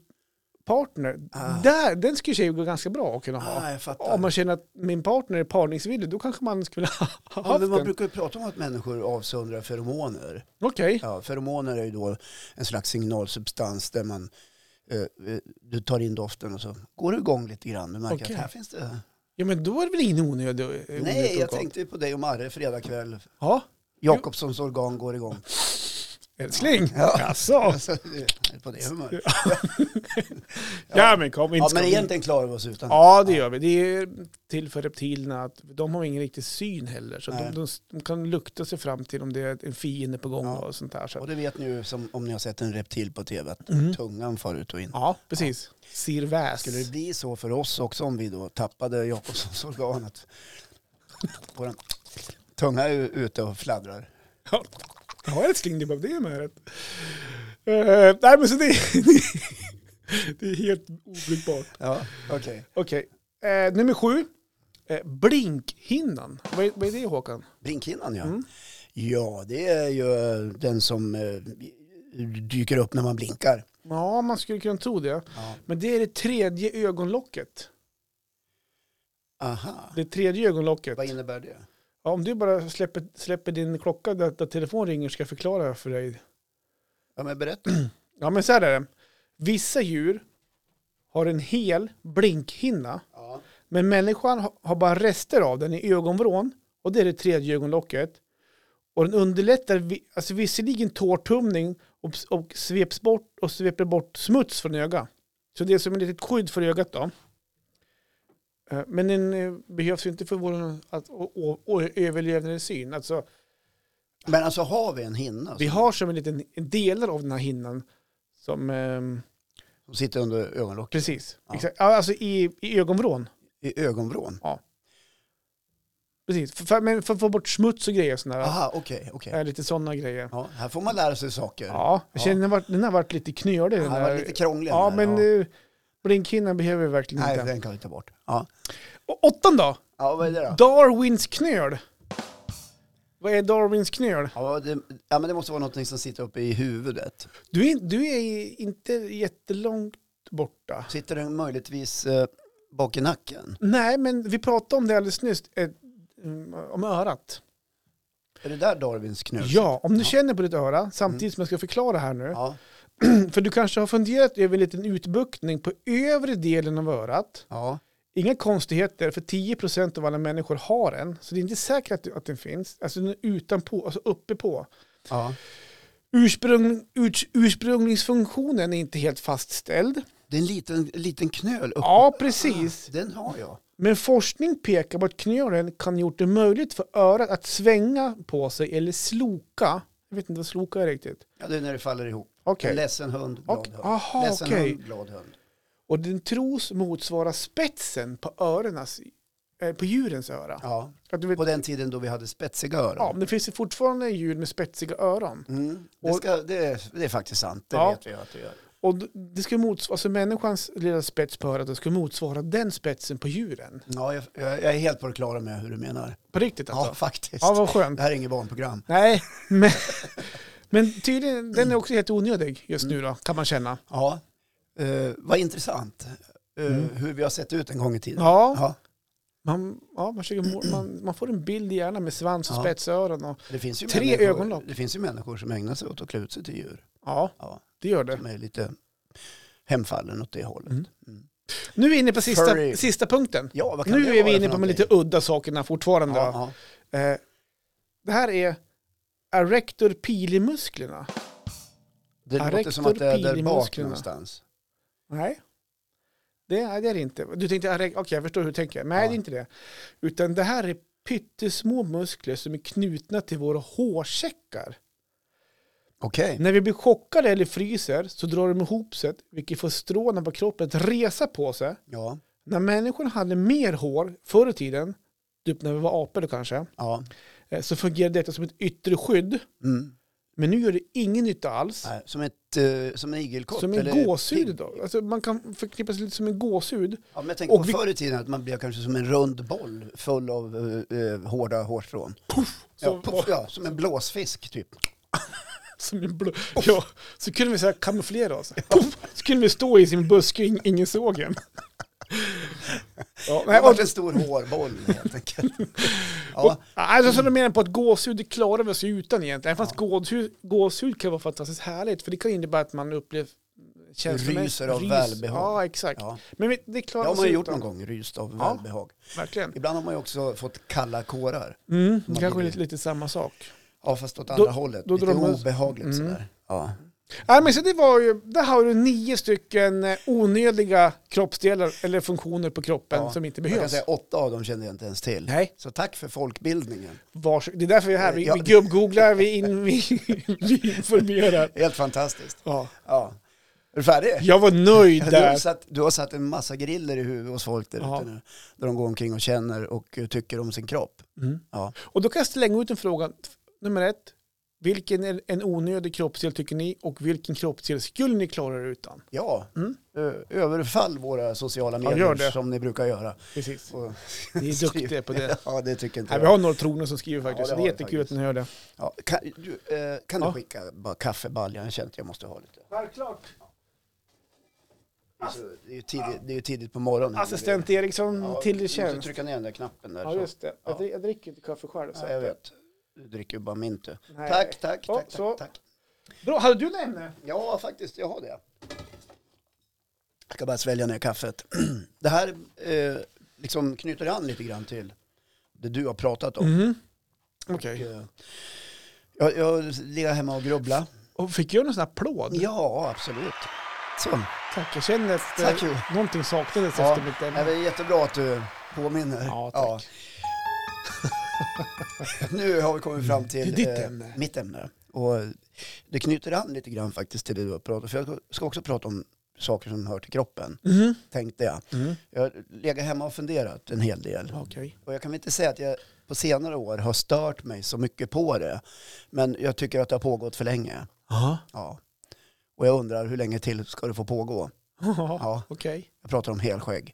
A: partner.
B: Ah.
A: Där, den skulle ju gå ganska bra att kunna ha.
B: Ah, jag fattar.
A: Om man känner att min partner är parningsvillig, då kanske man skulle ha
B: Ja,
A: haft
B: men man
A: den.
B: brukar ju prata om att människor avsöndrar feromoner.
A: Okej,
B: Ja, feromoner är ju då en slags signalsubstans där man eh, eh, du tar in doften och så går du igång lite grann. Du märker
A: Okej.
B: att här finns det...
A: ja, men då är det väl ingen onödig onödigt
B: Nej, jag
A: organ.
B: tänkte ju på dig och Marre fredag kväll.
A: Ja,
B: Jakobssons organ går igång.
A: älskling.
B: Ja.
A: Jaså?
B: Alltså, det är på det humöret.
A: Ja, men kom inte.
B: Ja,
A: ska
B: men
A: vi-
B: egentligen klarar vi oss utan.
A: Ja, det gör vi. Det är till för reptilerna att de har ingen riktig syn heller. Så
B: Nej.
A: de, de, de kan lukta sig fram till om det är en fiende på gång
B: Ja.
A: och sånt där. Så.
B: Och
A: att-
B: det vet ni ju som, om ni har sett en reptil på tv, att tungan far ut och in.
A: Ja, precis. Sirväs.
B: Skulle det bli så för oss också om vi då tappade Jakobssons organ? Att vår tunga är ju ute och fladdrar.
A: Ja, ja älskling, du behövde det med rätt. Eh, nej, men så det, det är helt obrukbart.
B: Ja, okej.
A: Okej, eh, nummer sju. Eh, blinkhinnan. Vad är, vad är det Håkan?
B: Brinkhinnan ja.
A: Mm.
B: Ja, det är ju den som eh, dyker upp när man blinkar.
A: Ja, man skulle kunna tro det.
B: Ja.
A: Men det är det tredje ögonlocket.
B: Aha,
A: Det tredje ögonlocket.
B: vad innebär det?
A: Ja, om du bara släpper, släpper din klocka där, där telefon ringer ska jag förklara för dig.
B: Ja, men berätta.
A: Ja, men så här är det. Vissa djur har en hel blinkhinna,
B: Ja.
A: men människan ha- har bara rester av den i ögonvrån och det är det tredje ögonlocket. Och den underlättar vi, alltså visserligen tårtumning och, och sveps bort och sveper bort smuts från ögat. Så det är som ett litet skydd för ögat då. Eh, Men den eh, behövs ju inte för vår att, å- å- å- överlevnad i syn. Alltså,
B: Men alltså har vi en hinna
A: Vi
B: som,
A: har som en liten en delar av den här hinnan som, ehm,
B: som sitter under ögonlocket?
A: precis,
B: Ja.
A: exakt, Ja, alltså i, i ögonvrån.
B: I ögonvrån?
A: Precis, för, för, men för att få bort smuts och grejer och sådär.
B: Aha, okej, okej.
A: Eh, Lite sådana grejer.
B: Ja, här får man lära sig saker.
A: Ja, jag
B: Ja.
A: känner den har varit- den har varit lite knölig.
B: Den
A: Den
B: här
A: här.
B: var lite krånglig.
A: ja,
B: den här,
A: men eh, blinkhinnan behöver vi verkligen
B: Nej,
A: inte.
B: den kan vi ta bort. Ja,
A: Och åttan då?
B: ja vad är det då?
A: Darwins knöl. Vad är Darwins knöl?
B: Ja, det, ja, men det måste vara något som sitter uppe i huvudet.
A: Du är, du är inte jättelångt borta.
B: Sitter den möjligtvis eh, bak i nacken?
A: Nej, men vi pratade om det alldeles nyss, eh, mm, om örat.
B: Är det där Darwins knut?
A: Ja, om du
B: Ja. Mm.
A: känner på ditt öra, samtidigt som jag ska förklara här nu.
B: Ja,
A: För du kanske har funderat över en liten utbuktning på övre delen av örat.
B: ja.
A: Inga konstigheter, för 10% av alla människor har en. Så det är inte säkert att, att den finns. Alltså den är utanpå, alltså uppe på.
B: ja.
A: Ursprung, urs, ursprunglingsfunktionen är inte helt fastställd.
B: Det är en liten, liten knöl uppe.
A: Ja, precis.
B: Den har jag.
A: Men forskning pekar på att knölen kan gjort det möjligt för örat att svänga på sig eller sloka. Jag vet inte vad sloka är riktigt.
B: Ja, det är när det faller ihop.
A: Okej.
B: En ledsen hund, glad
A: Och-
B: hund.
A: aha,
B: ledsen
A: okej.
B: hund, glad hund.
A: Och den tros motsvara spetsen på öronas, eh, på djurens öra.
B: Ja.
A: Att du vet,
B: På den tiden då vi hade spetsiga
A: ja,
B: öron.
A: men det finns ju fortfarande djur med spetsiga öron.
B: Mm. Det,
A: Och-
B: ska, det, är- det är faktiskt sant, det
A: Ja.
B: vet vi att det gör.
A: Och d- det ska motsvara, alltså människans lilla spets på örat det ska motsvara den spetsen på djuren.
B: Ja, jag, jag jag är helt på det klara med hur du menar.
A: På riktigt
B: Ja,
A: alltså.
B: faktiskt.
A: Ja, vad skönt.
B: Det här är inget barnprogram.
A: Nej, men, men tydligen, den är också helt onödig just nu
B: Mm.
A: då, kan man känna.
B: Ja, eh, vad intressant eh, hur vi har sett ut en gång i tiden.
A: Mm. Ja, man, ja, man, försöker, må- man, man får en bild i hjärnan med svans och
B: Ja.
A: spetsöron. Och,
B: Det finns ju
A: Tre
B: människor-
A: ögonlock.
B: Det finns ju människor som ägnar sig åt att klä ut sig till djur.
A: ja,
B: Ja,
A: det gör det.
B: som är lite hemfallen åt det hållet.
A: Mm. Nu är vi inne på sista,
B: Furry.
A: sista punkten.
B: Ja, vad kan
A: Nu
B: det
A: är vi
B: vara
A: inne
B: för
A: på de
B: någonting?
A: lite udda sakerna fortfarande. då.
B: Ja,
A: Eh, det här är erector pili-musklerna.
B: ja. Det låter
A: Erector
B: som att det är där bak
A: pili-musklerna.
B: någonstans.
A: Nej. Det är det är det inte. Du tänkte, erect- okej jag förstår hur du tänker. Nej
B: Ja.
A: det är inte det. Utan det här är pyttesmå muskler som är knutna till våra hårsäckar.
B: Okej.
A: När vi blir chockade eller fryser så drar de ihop sig vilket får stråna på kroppen att resa på sig.
B: Ja,
A: När människan hade mer hår förr i tiden, typ när vi var apor då kanske,
B: ja.
A: eh, så fungerade detta som ett yttre skydd.
B: Mm.
A: Men nu gör det ingen nytta alls.
B: Nej, som, ett, eh, som en igelkott.
A: Som
B: eller
A: en gåshud
B: pigg.
A: då. Alltså man kan förknippa sig lite som en gåshud.
B: Ja, men jag tänker
A: Och
B: på
A: vi-
B: förr i tiden att man blev kanske som en rund boll full av eh, eh, hårda hårstrån. ja,
A: Så,
B: puff, ja, som en blåsfisk typ.
A: som en blå, ja, så kunde vi så här kamouflera oss. Puff, så kunde vi stå i sin buske och ing- ingen såg en. Ja,
B: Det
A: nej,
B: var
A: och,
B: en stor hårboll helt enkelt.
A: och,
B: Ja,
A: alltså, så de menar på att gåshud det klarar vi oss utan egentligen. Även fast gåshud, gåshud kan vara fantastiskt härligt för det kan innebära att man upplever känslomässigt-
B: Ryser av
A: rys.
B: välbehag.
A: Ja, exakt.
B: ja.
A: Men vi- det
B: Det
A: klarar
B: har
A: vi
B: man
A: oss
B: ju gjort
A: utan.
B: någon gång, ryst av
A: Ja.
B: välbehag.
A: Verkligen.
B: Ibland har man ju också fått kalla kårar.
A: Mm, det
B: Man
A: kanske är
B: blir-
A: lite, lite samma sak.
B: Ja, fast åt
A: Då-
B: andra hållet.
A: då
B: Lite
A: drar man-
B: obehagligt
A: Mm.
B: sådär. Ja.
A: Nej, men så det var ju, där har du nio stycken eh, onödiga kroppsdelar eller funktioner på kroppen
B: Ja,
A: som inte
B: Jag kan
A: behövs.
B: säga åtta av dem kände jag inte ens till.
A: Nej.
B: Så tack för folkbildningen.
A: Vars, det är därför vi är här. Vi,
B: Eh, Ja.
A: vi gubbgooglar, vi, in, vi, vi informerar.
B: Helt fantastiskt.
A: Ja.
B: Ja. Är du färdig?
A: Jag var nöjd
B: Du har,
A: där.
B: satt, du har satt en massa griller i huvudet hos folk där
A: Ja.
B: ute nu. Där de går omkring och känner och eh, tycker om sin kropp.
A: Mm.
B: Ja.
A: Och då kan jag slänga ut en fråga. Nummer ett. Vilken är en onödig kroppsdel tycker ni och vilken kroppsdel skulle ni klara er utan?
B: ja.
A: Mm.
B: Ö- Överfall våra sociala
A: Ja,
B: medier
A: gör det.
B: som ni brukar göra.
A: Precis.
B: Och-
A: Ni är duktiga på det.
B: Ja, det tycker inte
A: Nej,
B: jag.
A: vi har några troner som skriver
B: Ja,
A: faktiskt. så det
B: det
A: är
B: har vi
A: jättekul att
B: faktiskt.
A: ni hör det.
B: Ja, kan du, eh, kan du
A: Ja.
B: skicka bara kaffebaljan? Jag känner att jag måste ha lite.
A: Självklart.
B: Det är, så, det är, ju, tidigt, det är ju tidigt på morgonen.
A: Assistent Eriksson
B: Ja,
A: till din
B: Du måste
A: tjänst.
B: trycka ner den där knappen där.
A: Ja,
B: så.
A: just det. Jag,
B: Ja.
A: dri- jag dricker inte kaffe själv. Så.
B: Ja, jag vet. Du dricker ju bara min du.
A: Nej.
B: Tack, tack,
A: Ja,
B: tack,
A: så.
B: tack, tack.
A: Bra, hade du något ämne?
B: Ja, faktiskt, jag har det. Jag ska bara svälja ner kaffet. Det här eh, liksom knyter an lite grann till det du har pratat om.
A: Mm. Okej.
B: Eh, Jag, jag ligger hemma och grubbla.
A: Och Fick jag någon sån här applåd?
B: Ja, absolut. Så.
A: Tack, jag känner att
B: Tack,
A: eh,
B: Johan.
A: någonting saknades
B: Ja,
A: efter mitt
B: nej,
A: ämne.
B: det är jättebra att du påminner.
A: Ja, tack.
B: Ja. Nu har vi kommit fram till eh,
A: Det är ditt ämne.
B: mitt ämne. Och det knyter an lite grann faktiskt till det du har pratat För jag ska också prata om saker som hör till kroppen,
A: Mhm.
B: tänkte jag.
A: Mm.
B: Jag har legat hemma och funderat en hel del.
A: Okej.
B: Och jag kan väl inte säga att jag på senare år har stört mig så mycket på det. Men jag tycker att det har pågått för länge.
A: Ja.
B: Ja. Och jag undrar hur länge till ska det få pågå? Ja.
A: Okej.
B: Jag pratar om helskägg.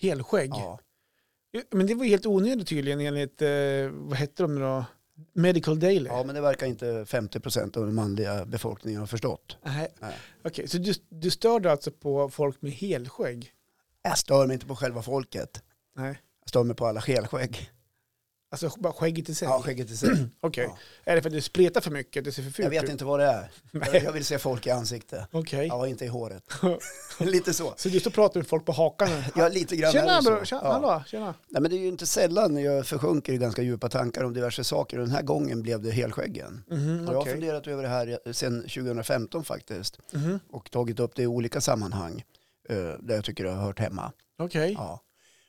A: Helskägg.
B: Ja.
A: Men det var ju helt onödigt tydligen enligt, eh, vad hette de då? Medical Daily?
B: ja, men det verkar inte 50% av den manliga befolkningen har förstått.
A: Nej.
B: Nej.
A: Okej, så du, du störde alltså på folk med helskägg?
B: Jag stör mig inte på själva folket.
A: Nej.
B: Jag stör mig på alla skelskägg.
A: Alltså bara skägget i sig?
B: Ja, skägget i sig.
A: Okej.
B: Ja.
A: Är det för att det spretar för mycket? Att det ser för fult
B: Jag vet
A: ut?
B: inte vad det är. Jag-
A: Nej.
B: Jag vill se folk i ansiktet.
A: Okej.
B: Ja, inte i håret. lite så.
A: Så just då pratar med folk på hakan?
B: Ja, lite grann är
A: Tjena
B: det så.
A: bror, tjena,
B: Ja.
A: hallå, tjena.
B: Nej, men det är ju inte sällan jag försjunker i ganska djupa tankar om diverse saker. Och den här gången blev det helskäggen.
A: Mhm,
B: Och jag har
A: okej.
B: funderat över det här sedan 2015 faktiskt.
A: Mhm,
B: Och tagit upp det i olika sammanhang. eh, Där jag tycker det har hört hemma.
A: Okej.
B: Ja.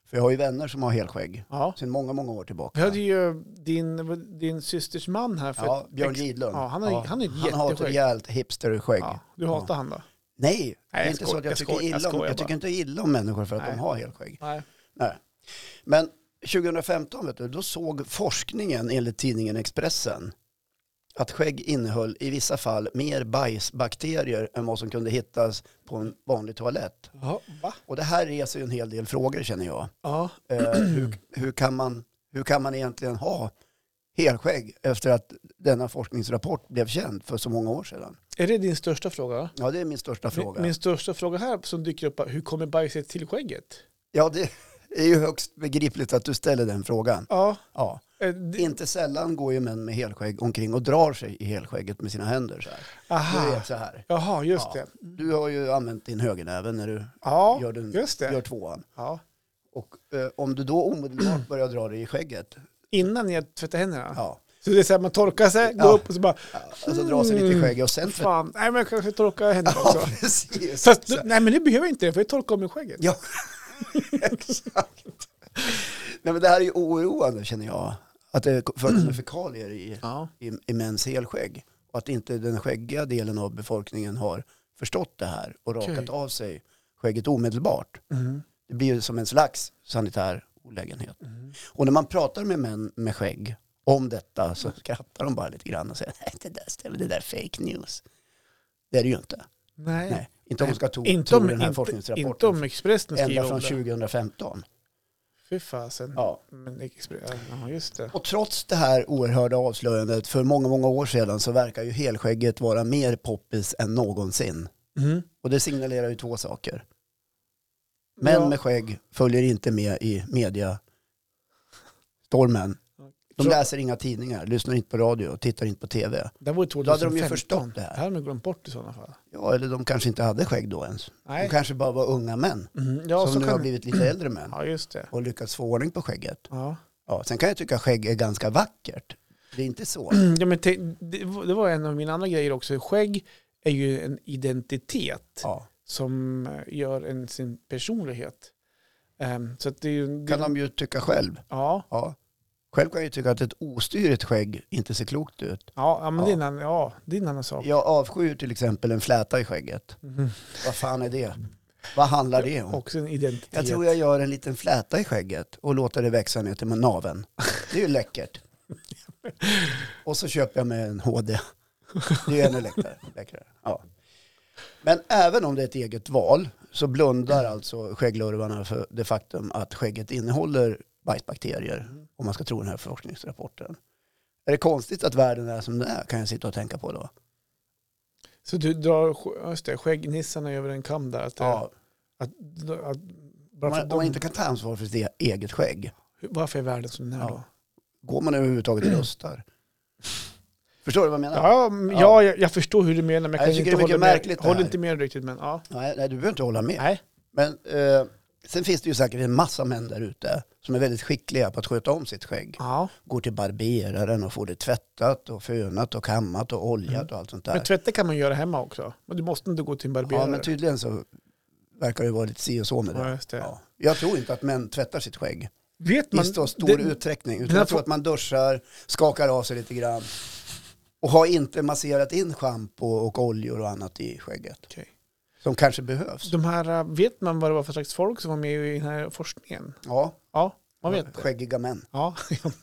B: För jag har ju vänner som har helskägg.
A: Ja.
B: Sedan många, många år
A: Vi
B: tillbaka.
A: hade ju din, din systers man här för
B: Ja, Björn
A: ex-
B: Gidlund.
A: Ja, han har- han har ett
B: han har ett
A: jätteskägg.
B: rejält hipsterskägg.
A: Ja, du hatar han då?
B: Nej, Nej, det
A: jag
B: är inte så
A: skojar,
B: att jag,
A: jag
B: tycker
A: skojar, jag
B: illa om,
A: skojar
B: jag tycker
A: bara.
B: inte illa om människor för att
A: Nej.
B: de har helskägg.
A: Nej.
B: Nej. Men 2015, vet du, då såg forskningen enligt tidningen Expressen att skägg innehöll i vissa fall mer bajsbakterier än vad som kunde hittas på en vanlig toalett.
A: Ja, va?
B: Och det här reser ju en hel del frågor känner jag.
A: Ja,
B: Eh, hur, hur, kan man, hur kan man egentligen ha helskägg efter att denna forskningsrapport blev känd för så många år sedan?
A: är det din största fråga?
B: Ja, det är min största fråga.
A: Min största fråga här som dyker upp, är, hur kommer bajset till skägget?
B: Ja, det är ju högst begripligt att du ställer den frågan.
A: Ja,
B: Ja.
A: eh, det,
B: Inte sällan går ju män med helskägg omkring och drar sig i helskägget med sina händer. Så här. Du
A: aha,
B: vet så här.
A: jaha, just
B: Ja.
A: det.
B: Du har ju använt din högernäve när du
A: Ja,
B: gör, den,
A: just
B: gör
A: det.
B: tvåan.
A: Ja.
B: Och eh, om du då omedelbart börjar dra dig i skägget,
A: Innan jag tvättar händerna.
B: ja,
A: Så det är så här, man torkar sig, går
B: Ja.
A: upp och så bara,
B: ja, alltså dra sig lite i
A: Mm.
B: skägget och sen tvätta.
A: fan, nej men jag kanske torkar händerna
B: Ja,
A: också.
B: precis.
A: Fast,
B: Så-
A: du, nej men det behöver jag inte, för jag torkar om mig skägget.
B: Ja, exakt. Nej, men det här är ju oroande känner jag, att det förekommer fekalier i
A: Ja.
B: i, i mäns helskägg. Och att inte den skäggiga delen av befolkningen har förstått det här och rakat
A: Okej. Mm.
B: av sig skägget omedelbart. Det blir ju som en slags sanitär olägenhet.
A: Mm.
B: Och när man pratar med män med skägg om detta så skrattar de bara lite grann och säger nej det där stället, det där är fake news. Det är det ju inte.
A: Nej.
B: Nej, inte om man ska tro,
A: Inte
B: tro
A: om,
B: den här
A: inte,
B: forskningsrapporten.
A: inte om Expressen
B: Ända
A: skriver om
B: från
A: det. Mm.
B: 2015.
A: Fy fasen.
B: Ja.
A: Men Expressen, ja just det.
B: Och trots det här oerhörda avslöjandet för många, många år sedan så verkar ju helskägget vara mer poppis än någonsin. Och det signalerar ju två saker. Män
A: Ja.
B: med skägg följer inte med i mediastormen. De
A: Så-
B: läser inga tidningar, lyssnar inte på radio och tittar inte på tv.
A: Det var ju 2015.
B: Då hade de ju förstått det
A: Det
B: här.
A: hade de glömt bort i sådana fall.
B: Ja, eller de kanske inte hade skägg då ens. De
A: Nej.
B: kanske bara var unga män
A: Mhm. Ja,
B: som
A: så
B: nu har
A: kan det.
B: blivit lite äldre män
A: Ja, just det.
B: och lyckats få ordning på skägget.
A: Ja.
B: Ja, sen kan jag tycka skägg är ganska vackert. Det är inte så.
A: Ja, men te- det var det var en av mina andra grejer också. Skägg är ju en identitet
B: Ja.
A: som eh, gör en sin personlighet. Ehm, så att det är ju... Det,
B: Kan de ju tycka själv.
A: ja,
B: Ja. Själv kan jag ju tycka att ett ostyrigt skägg inte ser klokt ut.
A: ja, ja, men
B: Ja.
A: Det, är en annan, ja, det är en annan sak.
B: Jag avskyr till exempel en fläta i skägget.
A: Mhm.
B: Vad fan är det? Vad handlar det om?
A: Också en identitet.
B: Jag tror jag gör en liten fläta i skägget och låter det växa ner till naveln. Det är ju läckert. Och så köper jag mig en HD. Det är ju ännu läckare. läckare. Ja. Men även om det är ett eget val så blundar alltså skägglurvarna för det faktum att skägget innehåller bajsbakterier om man ska tro den här forskningsrapporten. Är det konstigt att världen är som den är kan jag sitta och tänka på då.
A: Så du drar sk- just det, skäggnissarna över en kam där. Att, det-
B: Ja,
A: att, att,
B: om,
A: varför,
B: man, om man inte kan ta ansvar för sitt e-, eget skägg
A: varför är världen som den är
B: Ja.
A: då?
B: går man överhuvudtaget och röstar? Förstår du vad jag menar?
A: Ja, m-
B: Ja.
A: ja jag, jag förstår hur du menar, men
B: Jag
A: jag, kan inte
B: tycker det är mycket
A: hålla
B: märkligt
A: med.
B: det
A: Håller
B: här.
A: inte med riktigt, men ja.
B: Nej, nej, du behöver inte hålla med.
A: Nej.
B: Men eh, sen finns det ju säkert en massa män där ute som är väldigt skickliga på att sköta om sitt skägg.
A: ja.
B: Går till barberaren och får det tvättat och fönat och kammat och oljat och allt sånt
A: Mm. Men
B: där.
A: tvätta kan man göra hemma också. Men du måste inte gå till en barberare.
B: Ja, men tydligen så verkar det vara lite si och så med det.
A: Ja,
B: Ja,
A: just det.
B: Jag tror inte att män tvättar sitt skägg
A: Vet
B: i
A: man,
B: så stor
A: det-
B: utsträckning.
A: den
B: Utan
A: här
B: jag tror
A: fo-
B: att man duschar, skakar av sig lite grann och har inte masserat in schampo och oljor och annat i skägget
A: Okej.
B: som kanske behövs.
A: de här, äh, vet man vad det var för slags folk som var med i den här forskningen?
B: Ja,
A: Ja, man vet det.
B: skäggiga män.
A: Ja.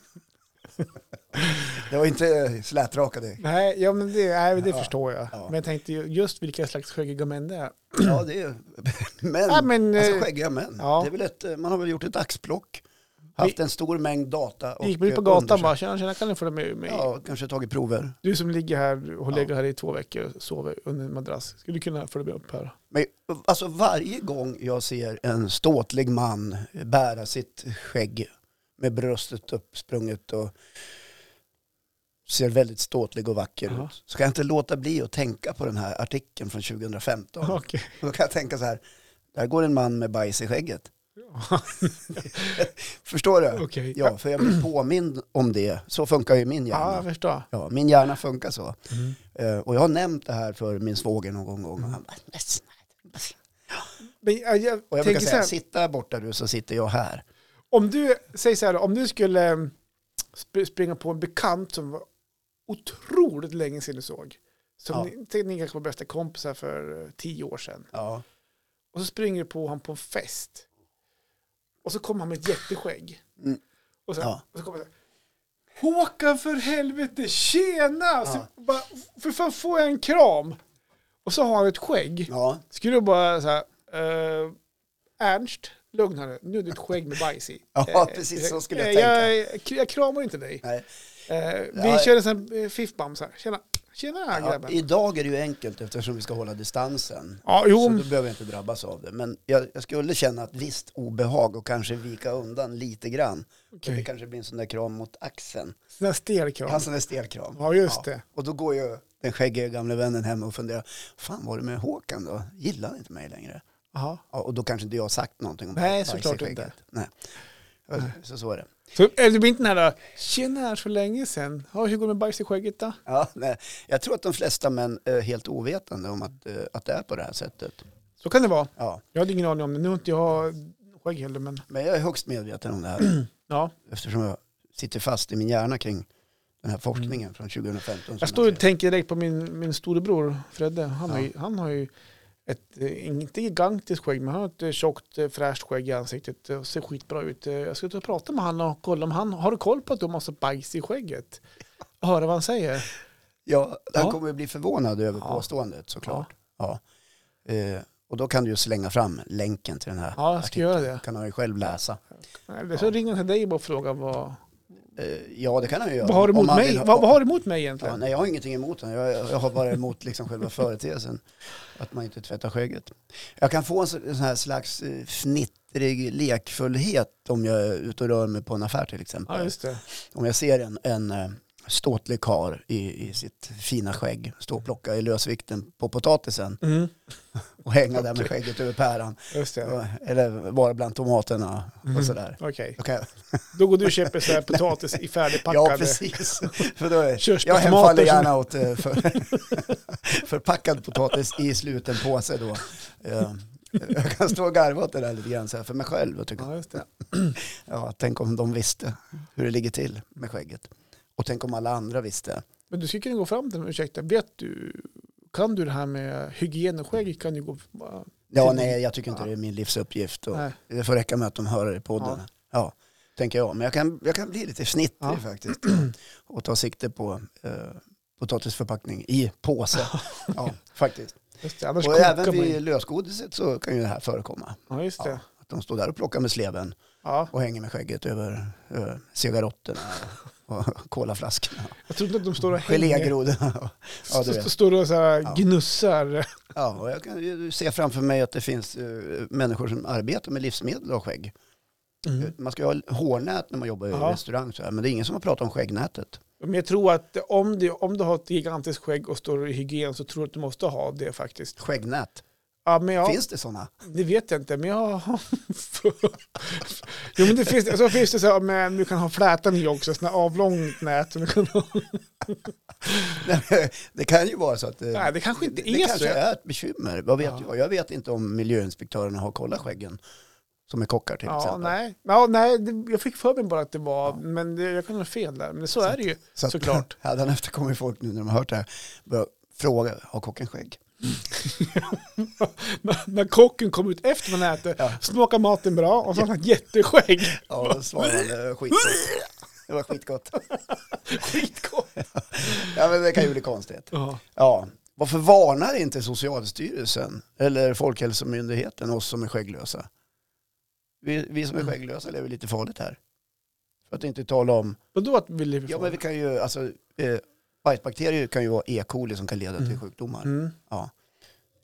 B: Det var inte eh, slätrakade
A: Nej, ja, men det, nej, det
B: Ja.
A: förstår jag.
B: Ja.
A: Men jag tänkte ju just vilka slags skäggiga män det är.
B: Ja, det är män.
A: Ja, men,
B: alltså
A: eh,
B: skäggiga män.
A: ja.
B: eh, Det är väl ett, man har väl gjort ett axplock, haft en stor mängd data.
A: Du gick man ut på
B: eh,
A: gatan
B: undersökt-
A: bara, tjena, tjena, kan ni följa med mig?
B: Ja, kanske tagit prover.
A: Du som ligger här och
B: Ja.
A: lägger här i två veckor och sover under en madrass, skulle du kunna följa med upp här?
B: Men alltså varje gång jag ser en ståtlig man bära sitt skägg med bröstet uppsprunget och ser väldigt ståtlig och vacker
A: Ja.
B: ut så kan jag inte låta bli att tänka på den här artikeln från 2015.
A: Okej.
B: Och Då kan jag tänka så här, där går en man med bajs i skägget. Förstår du?
A: Okej.
B: Ja, för jag blir påmind om det. Så funkar ju min
A: Ja, jag Mm.
B: hjärna.
A: förstår.
B: Ja, min hjärna funkar så. Eh, Och jag har nämnt det här för min svåger någon gång. Och
A: Mm.
B: han bara, "Men snälla."
A: Men jag, jag,
B: Och jag
A: tänker
B: brukar
A: så
B: säga,
A: här,
B: sitta här borta du så sitter jag här.
A: om du, säg så här, då, om du skulle eh, sp- springa på en bekant som var otroligt länge sedan du såg, som
B: Ja.
A: ni, tänk, ni kanske var bästa kompisar för eh, tio år sedan,
B: Ja.
A: och så springer du på honom på en fest, och så kommer han med ett jätteskägg.
B: Mm.
A: Och, så,
B: Ja.
A: och så kommer han så här, Håkan för helvete, tjena! Så bara, för fan får jag en kram? Och så har han ett skägg.
B: ja.
A: Skulle du bara så här, eh, Ernst, lugna dig, nu är ditt skägg med bajs i.
B: Ja,
A: Eh,
B: precis så skulle jag
A: eh, Jag, jag kramar inte dig.
B: Nej.
A: Eh, vi
B: Ja.
A: kör en sån här eh, fiffbam så här, tjena, tjena
B: Ja,
A: grabben.
B: idag är det ju enkelt eftersom vi ska hålla distansen.
A: Ja,
B: Så
A: jo,
B: då behöver jag inte drabbas av det. Men jag, jag skulle känna ett visst obehag och kanske vika undan lite grann.
A: Okej.
B: Och Det kanske blir en sån där kram mot axeln.
A: sån här stel kram.
B: Ja. En sån där stel kram.
A: Ja, just det.
B: Och då går ju den skäggige gamle vännen hem och funderar. Fan var det med Håkan då? Gillar han inte mig längre?
A: Jaha.
B: Ja, och då kanske inte jag har sagt någonting om
A: Nej,
B: bajs i
A: såklart
B: skägget.
A: inte.
B: Nej. Så, så är det.
A: Så eh, det blir inte den här, tjena så länge sen, ja, hur går det med bajs i skägget då?
B: Ja, nej. Jag tror att de flesta män är helt ovetande om att, eh, att det är på det här sättet.
A: Så kan det vara.
B: Ja.
A: Jag hade ingen aning om det, nu har inte jag skägg heller men
B: Men jag är högst medveten om det här
A: ja.
B: eftersom jag sitter fast i min hjärna kring den här forskningen från 2015. som
A: Mm. Jag står och
B: säger.
A: tänker direkt på min, min storebror Fredde. Han, har
B: Ja.
A: ju, han har ju ett, eh, inte gigantiskt skägg, men han har ett eh, tjockt eh, fräscht skägg i ansiktet eh, och ser skitbra ut. Eh, Jag ska ta och prata med han och kolla om han har du koll på att du har massa bajs i skägget. Och Höra vad han säger.
B: ja, han
A: Ja.
B: kommer att bli förvånad över
A: Ja.
B: påståendet såklart. Ja. Eh, och då kan du ju slänga fram länken till den här.
A: Ja, jag ska
B: artikeln.
A: göra det.
B: kan han ju själv läsa.
A: Eller så ringer han till dig och bara frågar vad,
B: Eh, ja, det kan han ju göra.
A: vad har du
B: Om
A: emot
B: han
A: mig?
B: vill ha-
A: Vad, vad har du emot mig
B: Ja,
A: egentligen?
B: nej, jag har ingenting emot den. Jag, jag har bara emot liksom själva företeelsen. Att man inte tvättar skägget. Jag kan få en så- en sån här slags eh, fnittrig lekfullhet om jag är ute och rör mig på en affär till exempel.
A: Ja, just det.
B: Om jag ser en, en eh, ståtlig kar i, i sitt fina skägg stå och plocka i lösvikten på potatisen
A: Mm,
B: och hänga där med skägget över päran. eh,
A: just det.
B: Eller vara bland tomaterna och sådär.
A: Mm. Okej,
B: Då kan jag,
A: då går du och köper så här potatis i
B: ja,
A: färdigpackade.
B: precis. För då är, jag
A: Körsbärstomater
B: hemfaller
A: som-
B: gärna åt eh, för, förpackad potatis i sluten påse då. Eh, Jag kan stå och garva åt det där lite grann så här för mig själv och tycka,
A: ja, just det.
B: ja, tänk om de visste hur det ligger till med skägget. Och tänk om alla andra visste.
A: Men du skulle kunna gå fram till dem, ursäkta, vet du, kan du det här med hygien och skägg? Kan du gå, bara-
B: Ja,
A: Till-
B: nej, jag tycker inte det är min livsuppgift. Och
A: Typ. Nej.
B: det får räcka med att de hör det i podden. Ja.
A: Ja.
B: tänker jag. Men jag kan, jag kan bli lite snittrig
A: Ja.
B: faktiskt. Och ta sikte på eh, potatisförpackning i påse. ja, faktiskt.
A: Just det, annars
B: Och även
A: kokar man ju.
B: vid lösgodiset så kan ju det här förekomma.
A: Ja, just det.
B: Att de står där och plockar med sleven
A: Ja.
B: och hänger med skägget över eh, cigaretterna och kolaflaskorna.
A: Jag tror inte att de står och hänger.
B: Gelégrodorna. Ja,
A: Ja,
B: du vet.
A: står och så här gnussar.
B: Ja, och jag kan ju se framför mig att det finns eh, människor som arbetar med livsmedel och skägg.
A: Mm.
B: Eh, Man ska ju ha hårnät när man jobbar i
A: Ja.
B: restaurang, så här, men det är ingen som har pratat om skäggnätet.
A: Men jag tror att om du, om du har ett gigantiskt skägg och står i hygien så tror jag att du måste ha det faktiskt.
B: Skäggnät,
A: Ja, men jag,
B: finns det sådana?
A: det vet jag inte, men jag har... jo, men det finns, så finns det så här, men du kan ha flätan i också, sådana avlångt nät. som Du kan ha.
B: det kan ju vara så att eh,
A: Nej, det kanske inte
B: det
A: är så.
B: kanske är ett bekymmer. Vad vet
A: Ja.
B: jag? Jag vet inte om miljöinspektörerna har kollat skäggen, som är kockar till
A: Ja,
B: exempel.
A: nej. Ja, nej, det- jag fick för mig bara att det var, men det, jag kan ha fel där. Men så är det ju,
B: Så att,
A: såklart.
B: Hade han efterkommit folk nu när de har hört det här, börja fråga, har kocken skägg?
A: när, när kocken kom ut efter man äter,
B: Ja.
A: smakar maten bra och så har han ett jätteskägg.
B: Ja, då svarade han, det var skitgott. Det var skitgott.
A: Skitgott.
B: Ja, men det kan ju bli konstigt.
A: Ja.
B: Ja, varför varnar inte Socialstyrelsen eller
A: Mm.
B: Folkhälsomyndigheten oss som är skägglösa? Vi, vi som är skägglösa lever lite farligt här. För att inte tala om...
A: Vadå att vi lever
B: Ja, men vi kan ju, alltså, eh, bajsbakterier kan ju vara E. coli som kan leda till
A: Mm.
B: sjukdomar.
A: mm.
B: Ja.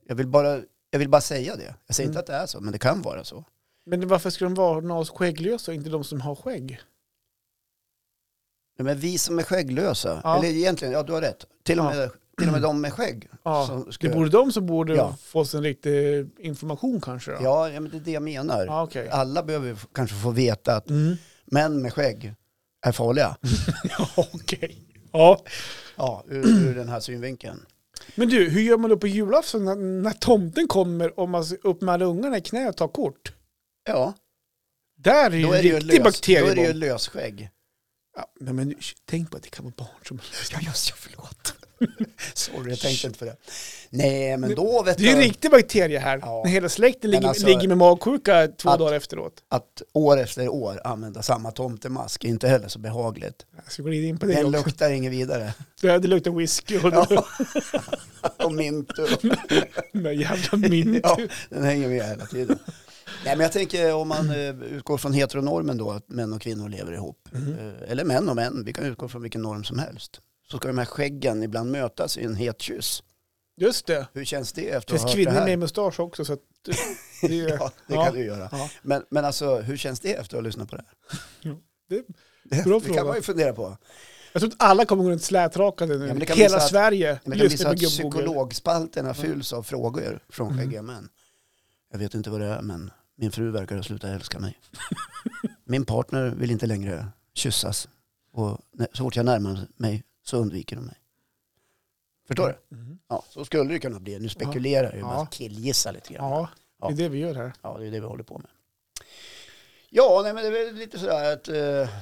B: Jag, vill bara, jag vill bara säga det. Jag säger
A: Mm.
B: inte att det är så, men det kan vara så.
A: Men varför ska de vara skägglösa och inte de som har skägg?
B: Nej, Men vi som är skägglösa,
A: Ja.
B: eller egentligen, ja du har rätt. Till och
A: Ja.
B: med, till och med de med skägg.
A: Ja,
B: som ska,
A: Det borde de som borde
B: Ja.
A: få sin riktig information kanske då?
B: ja, ja, men det är det jag menar.
A: Ja, okej.
B: Alla behöver f- kanske få veta att
A: Mm.
B: män med skägg är farliga.
A: Ja, okej. Ja.
B: Ja, ur, ur den här synvinkeln.
A: Men du, hur gör man då på julafton när, när tomten kommer och man ska upp med alla ungarna i knä och tar kort?
B: Ja,
A: Där är ju
B: då är
A: en
B: det ju
A: riktig
B: lös, då är det ju
A: bakteriebomb.
B: lösskägg.
A: Ja, nej, men sh- tänk på att det kan vara barn som...
B: Ja, just jag förlåt. Sorry, jag tänkte inte på det. Nej, men då vet
A: Det är
B: du
A: en riktig bakterie här.
B: Ja.
A: När hela släkten ligger,
B: alltså-
A: ligger med magsjuka två
B: Att-
A: dagar efteråt.
B: att år efter år använda samma tomtemask är inte heller så behagligt.
A: Jag ska glida in på det
B: Den
A: också.
B: luktar inget vidare.
A: Det det luktar whisky och
B: Ja. Och mint och...
A: de där jävla minnet.
B: Ja, den hänger med hela tiden. Nej, men jag tänker om man eh, utgår från heteronormen då, att män och kvinnor lever ihop.
A: Mm.
B: Eh, Eller män och män, vi kan utgå från vilken norm som helst. Så ska de här skäggen ibland mötas i en het kyss.
A: Just det.
B: Hur känns det efter
A: Det
B: att ha
A: finns
B: hört det
A: kvinnor
B: här?
A: med mustasch också. Så att det, är-
B: Ja, det
A: Ja.
B: kan du göra.
A: Ja.
B: Men, men alltså, hur känns det efter att ha lyssnat på det här?
A: Ja, det-
B: det,
A: bra
B: det
A: fråga.
B: kan man ju fundera på.
A: Jag tror att alla kommer gå runt slätrakade nu.
B: Ja, men det kan
A: Hela
B: visa att-
A: Sverige
B: Men det kan
A: lyssnar
B: visa
A: på
B: att
A: gubbogel.
B: psykologspalterna fylls av frågor från
A: Mm.
B: skäggiga män. Jag vet inte vad det är, men min fru verkar ha slutat älska mig. min partner vill inte längre kyssas. Och när- så fort jag närmar mig så undviker de mig. Förstår du?
A: Mm.
B: Ja, så skulle det kunna bli. Nu spekulerar jag,
A: Ja.
B: bara killgissar lite grann.
A: Ja, det är det vi gör här.
B: Ja, det är det vi håller på med. Ja, nej, men det är väl lite sådär att... eh,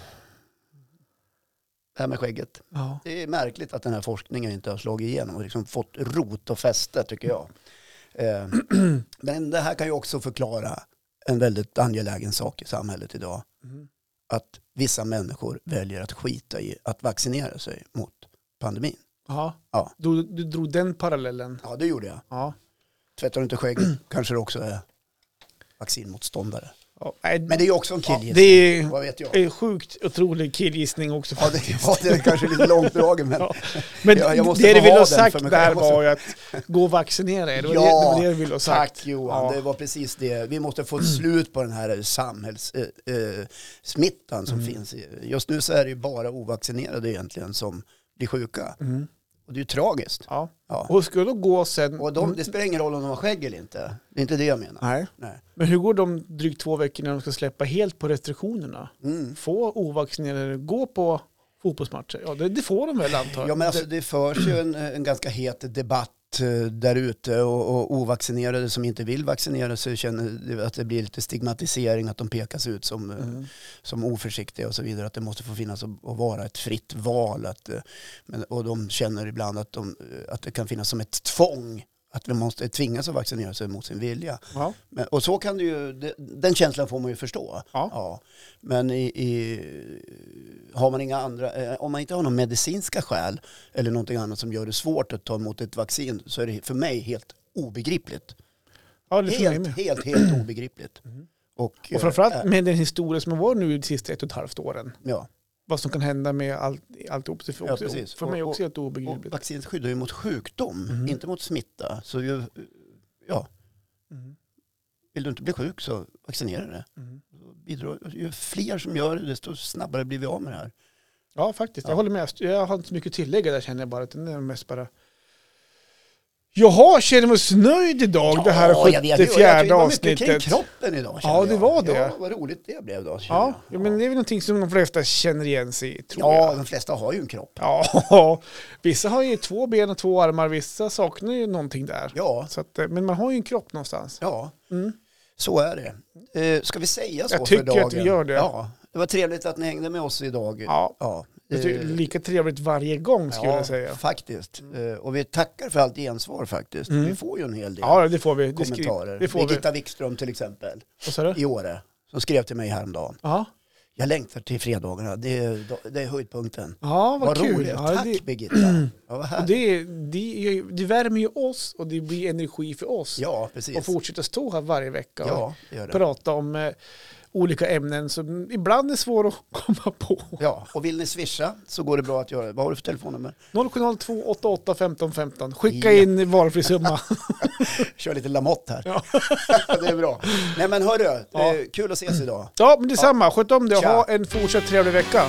B: det här med skägget.
A: Ja.
B: Det är märkligt att den här forskningen inte har slagit igenom och liksom fått rot och fäste tycker jag. Eh, Men det här kan ju också förklara en väldigt angelägen sak i samhället idag.
A: Mm.
B: Att vissa människor väljer att skita i att vaccinera sig mot pandemin.
A: Ja.
B: Ja.
A: Du, du drog den parallellen.
B: Ja, det gjorde jag.
A: Ja.
B: Tvättar du inte skägget kanske du också är vaccinmotståndare.
A: Ja. Nej,
B: Men det är ju också en
A: ja,
B: killgissning.
A: det är
B: Vad vet jag?
A: en sjukt otrolig killgissning också.
B: Ja, det, ja, det är kanske lite långdragen men
A: Ja. Men
B: jag- jag måste
A: det
B: få
A: du ville
B: ha
A: ha
B: den
A: sagt
B: för mig
A: där
B: själv. Jag
A: var ju att gå och vaccinera er. Det var,
B: Ja,
A: det, det, var det du ville ha sagt.
B: Tack Johan,
A: Ja.
B: det var precis det. Vi måste få ett slut på den här samhällssmittan eh, smittan som
A: Mm.
B: finns. i- Just nu så är det ju bara ovaccinerade egentligen som blir sjuka.
A: Mm.
B: Och det är ju tragiskt.
A: Ja.
B: Ja.
A: Och Mm. ska de gå sen...
B: Och de, det spelar ingen roll om de har skägg eller inte. Det är inte det jag menar.
A: Nej.
B: Nej.
A: Men hur går de drygt två veckor när de ska släppa helt på restriktionerna?
B: Mm.
A: Få ovaccinerade gå på fotbollsmatcher? Ja, det, det får de väl antar
B: Ja men alltså det förs ju en, en ganska het debatt eh, där ute och, och ovaccinerade som inte vill vaccinera sig känner att det blir lite stigmatisering, att de pekas ut som eh,
A: Mm.
B: som oförsiktiga och så vidare, att det måste få finnas och och vara ett fritt val. Att, eh, men, och de känner ibland att, de, eh, att det kan finnas som ett tvång, att vi måste tvingas att vaccinera sig mot sin vilja.
A: Ja.
B: Men, och så kan det ju, det, den känslan får man ju förstå.
A: Ja.
B: Men i, i, har man inga andra, eh, om man inte har några medicinska skäl eller någonting annat som gör det svårt att ta emot ett vaccin så är det för mig helt obegripligt.
A: ja, det tror jag
B: Helt,
A: med. Mm.
B: helt, helt obegripligt. Och, eh,
A: Och framförallt
B: eh,
A: med den historia som har varit nu de sista ett och ett halvt åren.
B: ja.
A: Vad som kan hända med allt, alltihop. Det är för,
B: Ja,
A: också,
B: precis.
A: för mig
B: Och-
A: också helt
B: Och
A: obegripligt.
B: vaccinet skyddar ju mot sjukdom,
A: Mhm.
B: inte mot smitta. Så ju, ja,
A: Mm.
B: vill du inte bli sjuk så vaccinera dig.
A: Mm.
B: Bidra- Ju fler som gör det, desto snabbare blir vi av med det här.
A: Ja, faktiskt. Jag
B: Ja.
A: håller med. Jag har inte så mycket att tillägga där känner jag bara. Utan det är mest bara... Jaha, känner vi oss nöjd idag? det här
B: Ja, jag vet.
A: 74
B: Jag- jag- det var mycket
A: avsnittet.
B: kring kroppen idag. kände
A: Ja, det
B: jag.
A: var det.
B: Ja, vad roligt det blev då. kände
A: Ja, ja,
B: jag.
A: men det är väl någonting som de flesta känner igen sig i, tror
B: ja,
A: jag.
B: de flesta har ju en kropp.
A: Ja, vissa har ju två ben och två armar, vissa saknar ju någonting där.
B: Ja,
A: Så att, eh, men man har ju en kropp någonstans.
B: ja
A: Mm.
B: så är det. Eh, Ska vi säga så
A: Jag
B: för
A: tycker
B: dagen?
A: att vi gör det.
B: Ja, det var trevligt att ni hängde med oss idag.
A: Ja,
B: Ja,
A: det är
B: eh,
A: lika trevligt varje gång skulle
B: ja,
A: jag säga.
B: faktiskt. Eh, Och vi tackar för allt gensvar faktiskt.
A: Mm.
B: Vi får ju en hel del.
A: Ja, det får vi. Det skri-
B: kommentarer.
A: Det får vi.
B: Birgitta Wikström till exempel
A: Vad sa du?
B: i Åre som skrev till mig häromdagen.
A: Ja,
B: Jag längtar till fredagarna, det är, det är höjdpunkten.
A: ja vad,
B: Vad
A: kul.
B: roligt,
A: Ja,
B: tack
A: det,
B: Birgitta. Ja, vad
A: och
B: härligt.
A: det, det, är ju- det värmer ju oss och det blir energi för oss.
B: ja
A: Och
B: precis.
A: fortsätta stå här varje vecka och
B: Ja, det gör det.
A: prata om eh, olika ämnen som ibland är svåra att komma på.
B: Ja, och vill ni swisha så går det bra att göra det. Vad har du för telefonnummer?
A: 070 88 15 15. Skicka
B: Ja.
A: in valfri summa.
B: Kör lite Lamotte här.
A: Ja.
B: det är bra. Nej men hörru,
A: Ja.
B: eh, kul att ses idag.
A: Ja, men detsamma. Sköt om dig och
B: Tja.
A: ha en fortsatt trevlig vecka.